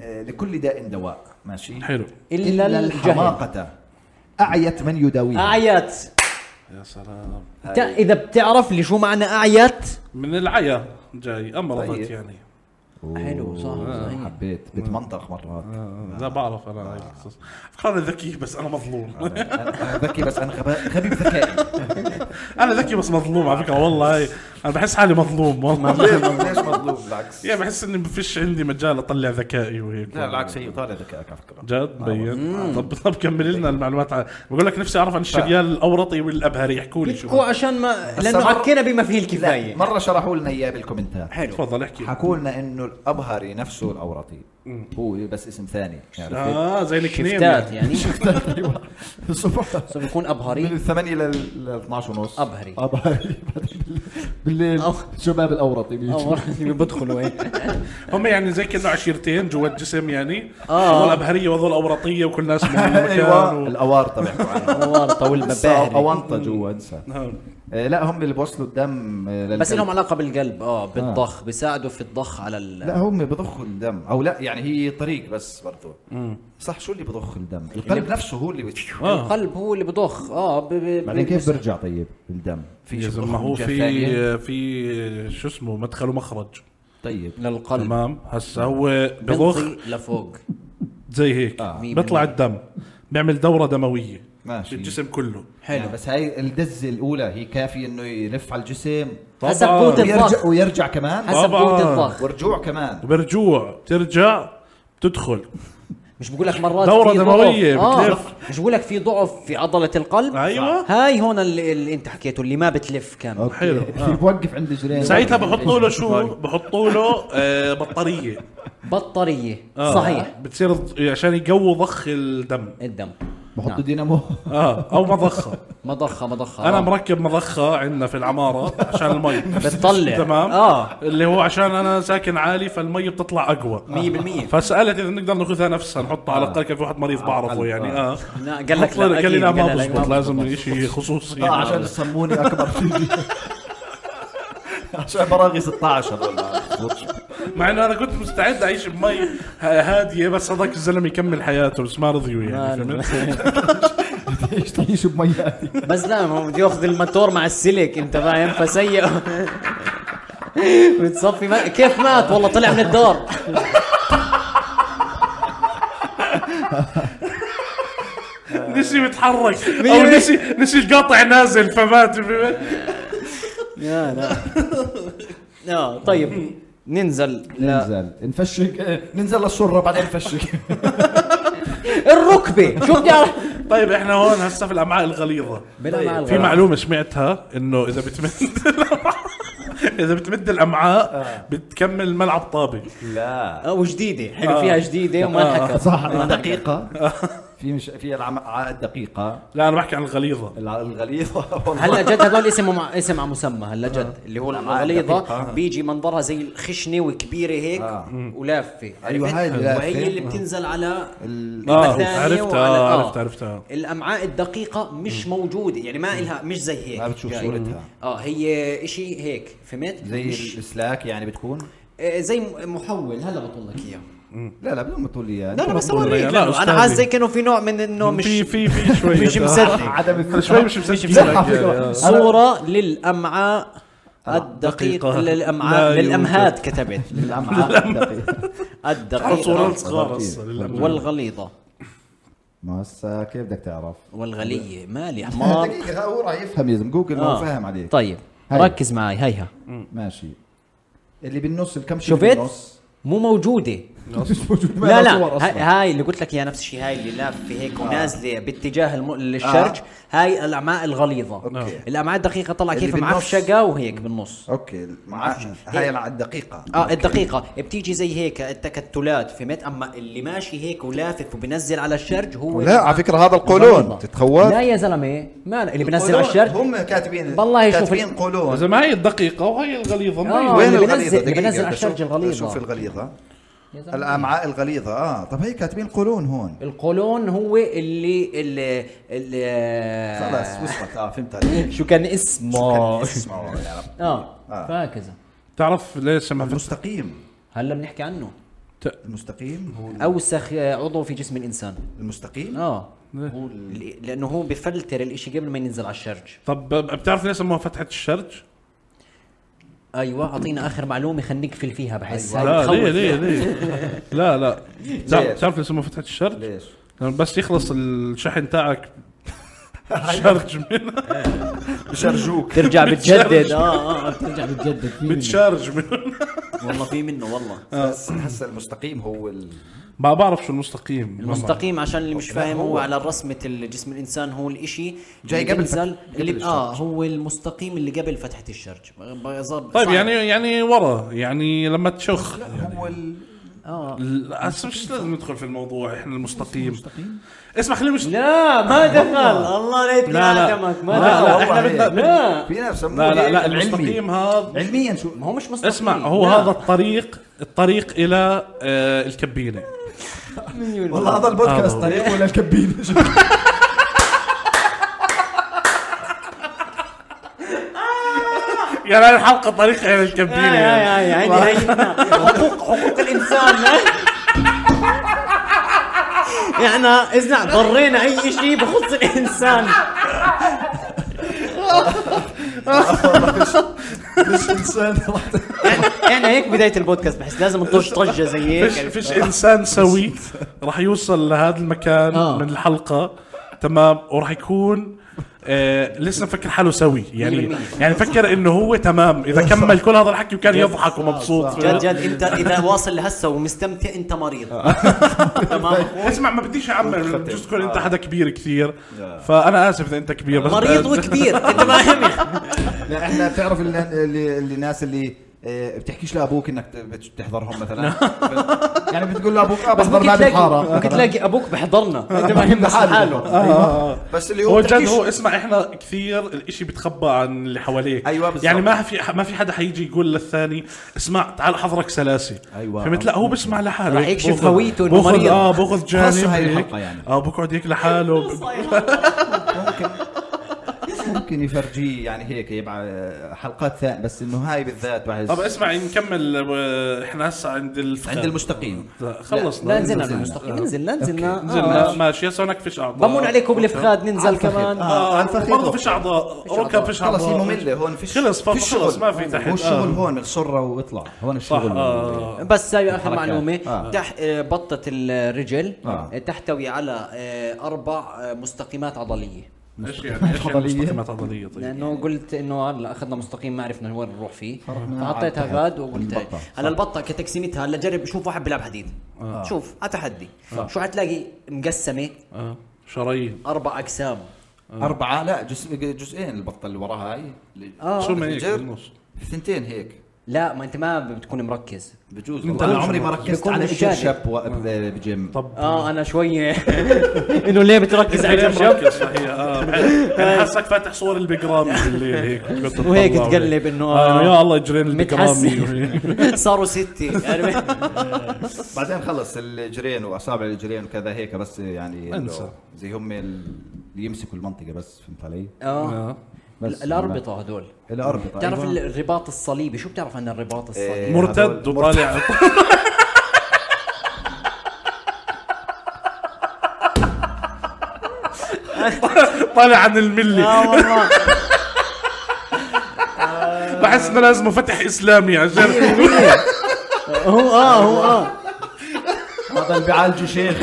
D: آه، لكل داء دواء ماشي
C: حلو
B: الا الجهل
D: الحماقة أعيت من يداويها
B: اعيت
C: يا سلام
B: تا- اذا بتعرف لي شو معنى اعيت
C: من العيا جاي امرضت
D: طيب.
C: يعني
B: حلو صح
D: آه، حبيت بتمنطق مرات
C: لا بعرف انا هاي القصص فكرة انا ذكي بس انا مظلوم
D: آه. أنا ذكي بس أنا غباء غبي بذكائي
C: انا ذكي بس مظلوم على فكره والله هاي انا بحس حالي مظلوم والله
D: ليش مظلوم بالعكس
C: يعني بحس اني ما فيش عندي مجال اطلع ذكائي وهيك
D: لا بالعكس هي طالع ذكائك على فكرة
C: جد مبين طب طب كمل لنا المعلومات عن- بقول لك نفسي اعرف عن الشريان الاورطي والابهري احكوا لي
B: كو
C: شو
B: عشان ما
D: بس
B: لانه
D: مرة-
B: حكينا بما فيه الكفايه
D: لا مرة شرحوا لنا إياه بالكومنتات
B: حلو
C: تفضل احكي
D: حكوا لنا إنه الأبهري نفسه الأورطي هو بس اسم ثاني عرفت؟
C: اه زي الكنيم
B: شفتات
C: يعني.
B: يعني
A: الصبح
B: سوف يكون
D: من
B: ابهري
D: الثمانية لل لل 12 ونص
B: ابهري
A: اه بعدين بالليل- بالليل
B: أو-
A: شباب الاورطي بيجوا
B: أول اللي بدخلوا هيك
C: هم يعني زي كانه عشيرتين جوا الجسم يعني
B: آه.
C: آه. الابهريه وهذول الاورطيه وكل ناس من المكان
D: ايوه
C: و...
D: الأوارطة بيحكوا عنها
B: ورطه والمباهري
D: أوانطة جوا انسى
C: آه.
D: آه، لا هم اللي بوصلوا الدم آه، للقلب.
B: بس لهم علاقه بالقلب اه بالضخ بيساعدوا في الضخ على ال...
D: لا هم بضخوا الدم او لا يعني هي طريق بس برضو صح شو اللي بضخ
A: يعني
D: الدم القلب نفسه هو اللي بت...
C: آه.
B: القلب هو اللي بضخ اه ب... ب...
A: بعدين
B: ب...
A: كيف برجع طيب الدم
D: في
C: يا
D: شو
C: زلمه
D: بضخ
C: هو
D: من جهة ثانية؟
C: في في شو اسمه مدخل ومخرج
D: طيب
B: للقلب
C: تمام هسه هو بضخ
B: بضخ لفوق
C: زي هيك
D: آه.
C: بيطلع الدم بيعمل دوره دمويه في
D: ماشي
C: الجسم كله
D: حلو يعني بس هاي الدزه الاولى هي كافيه انه يلف على الجسم
A: طيب.
D: طيب.
B: حسب قوه
D: ويرجع
B: الضغط
D: ويرجع كمان
B: حسب قوه
C: طبعاً.
B: الضغط
D: ورجوع كمان
C: وبرجوع بترجع بتدخل
B: مش بقول لك مرات
C: دورة
B: في
C: دموية
B: ضعف.
C: بتلف.
B: آه مش بقول لك في ضعف في عضله القلب
C: أيوة.
B: هاي هون اللي, اللي انت حكيته اللي ما بتلف كامل
C: حلو.
A: في بوقف عند رجلين
C: ساعتها بحطوا له شو بحطوا له آه بطاريه
B: بطاريه
C: آه.
B: صحيح
C: بتصير ض- عشان يقووا ضخ الدم
B: الدم
A: بحطوا دينامو
C: اه او مضخه
B: مضخه مضخه
C: انا
B: آه.
C: مركب مضخه عندنا في العماره عشان المي
B: بتطلع.
C: تمام
B: آه.
C: اللي هو عشان انا ساكن عالي فالمي بتطلع اقوى
B: 100%
C: فسالت اذا نقدر ناخذها نفسها نحطها
B: آه.
C: على القلب كان في واحد مريض بعرفه يعني اه
B: لا، قال لك لا،
C: قال لي لا
B: أكيد،
C: ما
B: قال لك ما آه،
C: بزبط لازم شيء خصوصي
D: اه عشان السموني اكبر فيديو عشان براغي 16 هذول
C: مع انه انا كنت مستعد اعيش بمي ه- هاديه بس هذاك الزلمه يكمل حياته بس ما رضيوا
B: آه،
C: يعني فهمت؟
A: ايش تعيشوا بمياتي
B: بس لا ما هو بده ياخذ الماتور مع السلك انت فاهم فسيء بتصفي ما... كيف مات والله طلع من الدار
C: نسي يتحرك او
B: مية.
C: نسي نسي القاطع نازل فمات
B: يا لا اه طيب ننزل ل-
D: ننزل نفشك آه، ننزل للسره بعدين نفشك
B: الركبه شو بدي اعرف
C: طيب احنا هون هسه في الامعاء الغليظه
B: بلا مع
C: في
B: الغرام.
C: معلومه سمعتها انه اذا بتمد اذا بتمد الامعاء
B: آه.
C: بتكمل الملعب طابه
A: لا
B: اه وجديده حلو
C: آه.
B: فيها جديده وما انحكى
D: صح
A: دقيقة في مش في العماء الدقيقة
C: لا انا بحكي عن الغليظه
A: الع- الغليظة والله.
B: هلا جد هذول اسم مع اسم على مسمى هلا جد اللي هو الغليظه
A: دقيقة.
B: بيجي منظرها زي الخشنه وكبيره هيك
A: آه.
B: ولافه
D: أيوة،
B: عرفت؟
D: هاي اللي لافة.
B: وهي اللي بتنزل على
C: اه
B: الثانية وعلى-
C: عرفتها
B: آه.
C: عرفتها عرفتها
B: الامعاء الدقيقه مش موجوده يعني ما إلها مش زي هيك
A: ما بتشوف
B: جاي.
A: صورتها.
B: اه هي إشي هيك فهمت
A: زي
B: مش
A: السلاك يعني بتكون
B: آه، زي م- محول هلا بطول لك اياه
A: لا لا بدون ما تقول لي إياه.
B: لا لا بس اوريك
C: لا،
B: لأنه انا
C: أستاذي.
B: حاسس زي كانه في نوع من انه مش
C: في في في شوي
B: مش مصدق
D: عدم
C: شوي
D: الثقة.
C: مش مصدق
D: لا، على فكرة.
C: يعني.
B: صورة للأمعاء الدقيقة
C: دقيقة.
B: للأمعاء
C: لا
B: للأمهات كتبت
D: الأمعاء الدقيقة.
B: آه.
C: تعرف صورة
B: الدقيقة
C: صغار هسه للأمانة.
B: والغليظة
D: ما هسه كيف بدك تعرف؟
B: والغلية مالي حمار
D: دقيقة هو راح يفهم يا زلمة جوجل ما هو
B: آه.
D: فاهم عليك
B: طيب
D: هاي.
B: ركز معي هيها
D: ماشي اللي بالنص الكم شيء
B: شفت؟
D: بالنص
B: مو موجودة
D: مش موجود ما
B: لا
D: لها
B: لا
D: صور
B: هاي,
D: أصلاً.
B: هاي اللي قلت لك يا نفس الشيء هاي اللي لافة هيك ونازلة باتجاه الم... الشرج هاي الأمعاء الغليظة
A: أوكي.
B: الأمعاء الدقيقة طلع
A: اللي
B: كيف
A: بالنص.
B: معفشقة وهيك بالنص
A: اوكي مع هاي الع- الدقيقة
B: اه الدقيقة بتيجي زي هيك التكتلات فهمت اما اللي ماشي هيك ولافف وبنزل على الشرج هو
J: لا على فكره هذا القولون تتخوف
B: لا يا زلمة ما اللي بنزل
A: قولون.
B: على الشرج
A: هم كاتبين
B: والله يشوف
A: كاتبين
B: ال-
A: قولون
C: اذا ما هي الدقيقه وهي الغليظه ما
B: آه.
C: هي.
A: وين
B: اللي
A: الغليظة
B: بنزل- اللي
A: دقيقة
B: بنزل على
A: بدي
B: الشرج
A: أشوف-
B: الغليظة.
A: شوف الغليظة
B: يا زلمة.
A: الامعاء الغليظة اه طب هي كاتبين قولون هون
B: القولون هو اللي اللي, اللي
A: خلاص وصلت اه فهمت عليك
B: شو كان اسمه
A: اسمعوا يا رب.
B: اه
A: آه.
B: فهكذا
C: تعرف ليش سمع
A: المستقيم
B: هلا بنحكي عنه
A: المستقيم هو
B: اوسخ عضو في جسم الانسان
A: المستقيم
B: اه هو ال- لانه هو بفلتر الاشي قبل ما ينزل على الشرج
C: طب بتعرف ليش سموها فتحه الشرج؟
B: ايوه اعطينا اخر معلومه خلينا نقفل فيها بحس هاي
C: أيوة. لا
B: بتخوف.
C: ليه ليه ليه لا لا بتعرف
A: ليش؟
C: بتعرف ليش سموها فتحه الشرج؟
A: ليش؟
C: لما بس يخلص الشحن تاعك شارج منه
A: بشرجوك
B: ترجع بتجدد اه
F: اه بترجع بتجدد في منه.
C: بتشارج منه
B: والله في منه والله
C: آه.
A: بس هسه المستقيم هو ال...
C: ما بعرف شو المستقيم
B: المستقيم عشان اللي مش
A: لا،
B: فاهم هو
A: هو.
B: على رسمة الجسم الإنسان هو الإشي
A: جاي
B: اللي
A: قبل
B: بينزل-
A: فتح- قبل
B: اللي
A: الشرج.
B: آه هو المستقيم اللي قبل فتحة الشرج بظل-
C: طيب
B: صعب.
C: يعني يعني ورا يعني لما تشخ يعني.
A: هو ال...
C: آه. لا هسه مش لازم ندخل في الموضوع احنا المستقيم اسمع خلينا مش لا
B: لا ما دخل الله ليت
C: لا، لا.
B: عدمك ما
C: لا،
B: دخل
C: لا،
A: والله
C: إحنا بدنا-
A: هيك.
B: بدنا-
A: في ناس إيه، سموه
C: لا لا
A: هيك
C: المستقيم هذا
A: علميا شو
B: ما هو مش مستقيم
C: اسمع هو
B: لا.
C: هذا الطريق الطريق الى آه، الكبينه
A: والله هذا البودكاست
C: آه.
A: طريقه ولا الكبين
C: يعني الحلقه طريق الى الكبينه
B: يا
C: يعني.
B: يا يا يعني هي حقوق حقوق آه. الانسان يعني اسمع ضرينا اي شيء بخص الانسان
A: مش انسان راح ت-
B: يعني هيك بدايه البودكاست بحس لازم نطش طجه زي
C: فيش
B: هيك
C: فيش انسان سوي راح يوصل لهذا المكان
B: آه.
C: من الحلقه تمام وراح يكون آه لسه مفكر حاله سوي يعني يعني فكر انه هو تمام اذا كمل كل هذا الحكي وكان يضحك ومبسوط
B: جد جد انت اذا واصل لهسه ومستمتع انت مريض تمام
C: اسمع ما بديش اعمم بجوز تكون انت حدا كبير كثير فانا اسف اذا انت كبير بس
B: آه. مريض وكبير انت فاهم يا
A: لا، احنا بتعرف اللي اللي- اللي الناس اللي آه، بتحكيش لابوك انك ت- بت- بتحضرهم مثلا يعني بتقول لابوك اه بحضر ما بالحاره
B: ممكن تلاقي ابوك بحضرنا انت ما يهمك حاله
A: بس اللي
C: هو
A: هو
C: جد
A: بتحكيش
C: هو اسمع احنا كثير الاشي بتخبى عن اللي حواليك
A: أيوة بالضبط.
C: يعني ما في ما في حدا حيجي يقول للثاني اسمع تعال حضرك سلاسي
A: أيوة.
C: فهمت لا هو بيسمع لحاله
B: رح
C: هيك
B: يكشف
C: بأخذ-
B: هويته إنه
C: بأخذ-
B: مريض.
C: اه باخذ جانب
A: خاصة هاي
C: هيك.
A: الحلقة يعني.
C: اه بقعد هيك لحاله
A: ممكن ممكن يفرجيه يعني هيك يبع آه، حلقات ثانيه بس انه هاي بالذات بحس
C: طب اسمع نكمل آه، احنا هسه عند الفخار
A: عند المستقيم
C: لا، خلصنا
B: لا نزلنا المستقيم ننزل لا نزلنا
C: نزلنا آه.
B: آه.
C: ماشي هسه هناك فيش اعضاء
B: بمون عليكم بالفخاد ننزل كمان
C: اه
A: على الفخذ.
C: برضه فيش اعضاء ركب فيش اعضاء
A: خلص هي ممله هون فيش
C: آه. خلص
A: فيش
C: خلص
A: شغل.
C: ما في تحت
A: هو الشغل
C: آه.
A: هون من الصره واطلع هون
C: صح
A: الشغل
C: آه.
B: بس هاي اخر
A: الحركات.
B: معلومه
A: آه.
B: تح آه، بطه الرجل
A: آه.
B: آه. تحتوي على آه، اربع آه، مستقيمات عضليه
C: ايش يعني ايش يعني
D: عضلية؟
C: مستقيمات عضليه طيب
B: لانه قلت انه هلا اخذنا مستقيم ما عرفنا وين نروح فيه
D: فرحنا
B: فحطيتها
D: على
B: غاد وقلت
D: البطة.
E: هلا البطه كتقسيمتها هلا جرب شوف واحد بيلعب حديد شوف على تحدي شو حتلاقي مقسمه
C: اه شرايين
E: اربع اقسام
C: آه.
A: اربعه لا جزء جزئين البطه اللي وراها هاي آه.
B: آه.
C: شو ما هيك
A: الجر
C: بالنص
A: ثنتين هيك
B: لا ما انت ما بتكون مركز
A: بجوز
C: انت
A: والله انا
C: مش-
A: عمري ما ركزت
B: بيكون
A: على
B: مشاهد.
A: الشاب وقت
C: آه.
A: بجيم
C: طب
B: اه انا شوي انه ليه بتركز على
C: ليه
B: الشبشب
C: مركز صحيح اه بعد- كان حاسك فاتح صور البقرامي بالليل هيك وتقعد تطلع
B: وهيك
C: وهيك.
B: تقلب إنه،
C: آه
B: آه،
C: يا الله اجرين
B: متحسن.
C: البقرامي
E: صاروا ستة يعني
A: بعدين خلص الجرين واصابع الجرين وكذا هيك بس يعني إنه
C: انسى.
A: زي هم ال- اللي يمسكوا المنطقه بس فهمت علي؟
B: اه
C: آه.
A: بس
B: الاربطه هدول
A: الاربطه
B: بتعرف
A: أيوة.
B: الرباط الصليبي شو بتعرف عن الرباط الصليبي؟
A: إيه،
C: مرتد
A: هذول-
C: وطالع طالع عن
B: آه.
C: الملي
E: اه والله
C: بحس انه لازم فتح اسلامي
B: آه.
C: عشان
B: هو اه هو اه
A: هذا اللي بيعالجوا شيخ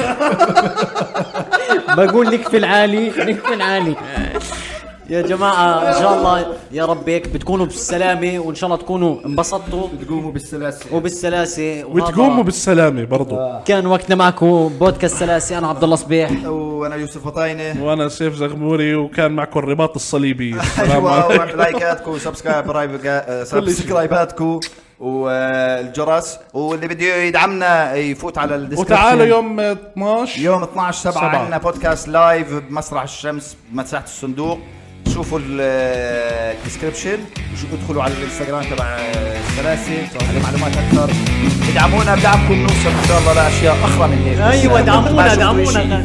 B: بقول نكفي العالي نكفي العالي
E: يا جماعة ان شاء الله يا رب هيك بتكونوا بالسلامة وان شاء الله تكونوا انبسطتوا
A: بتقوموا بالسلاسل
E: وبالسلاسة وهذا
B: آه.
C: وتقوموا بالسلامه برضه
B: كان وقتنا معكم بودكاست سلاسي انا عبد الله صبيح
A: وانا يوسف وطاينه
C: وانا سيف زغموري وكان معكم الرباط الصليبي السلام
A: ايوه
C: عليكم
A: ولايكاتكم وسبسكرايباتكم آه، والجرس واللي بده يدعمنا يفوت على الديسكربشن
C: وتعالوا يوم 12
A: يوم 12 7
C: سبعة.
A: عندنا بودكاست لايف بمسرح الشمس بمساحه الصندوق شوفوا ال- الديسكربشن وشوفوا ادخلوا على الانستغرام تبع السلاسل على معلومات اكثر ادعمونا بدعمكم نوصل ان شاء الله لاشياء اخرى من هيك
E: ايوه
A: بس ما
E: دعمونا
A: شفتوا
E: دعمونا
A: إشي.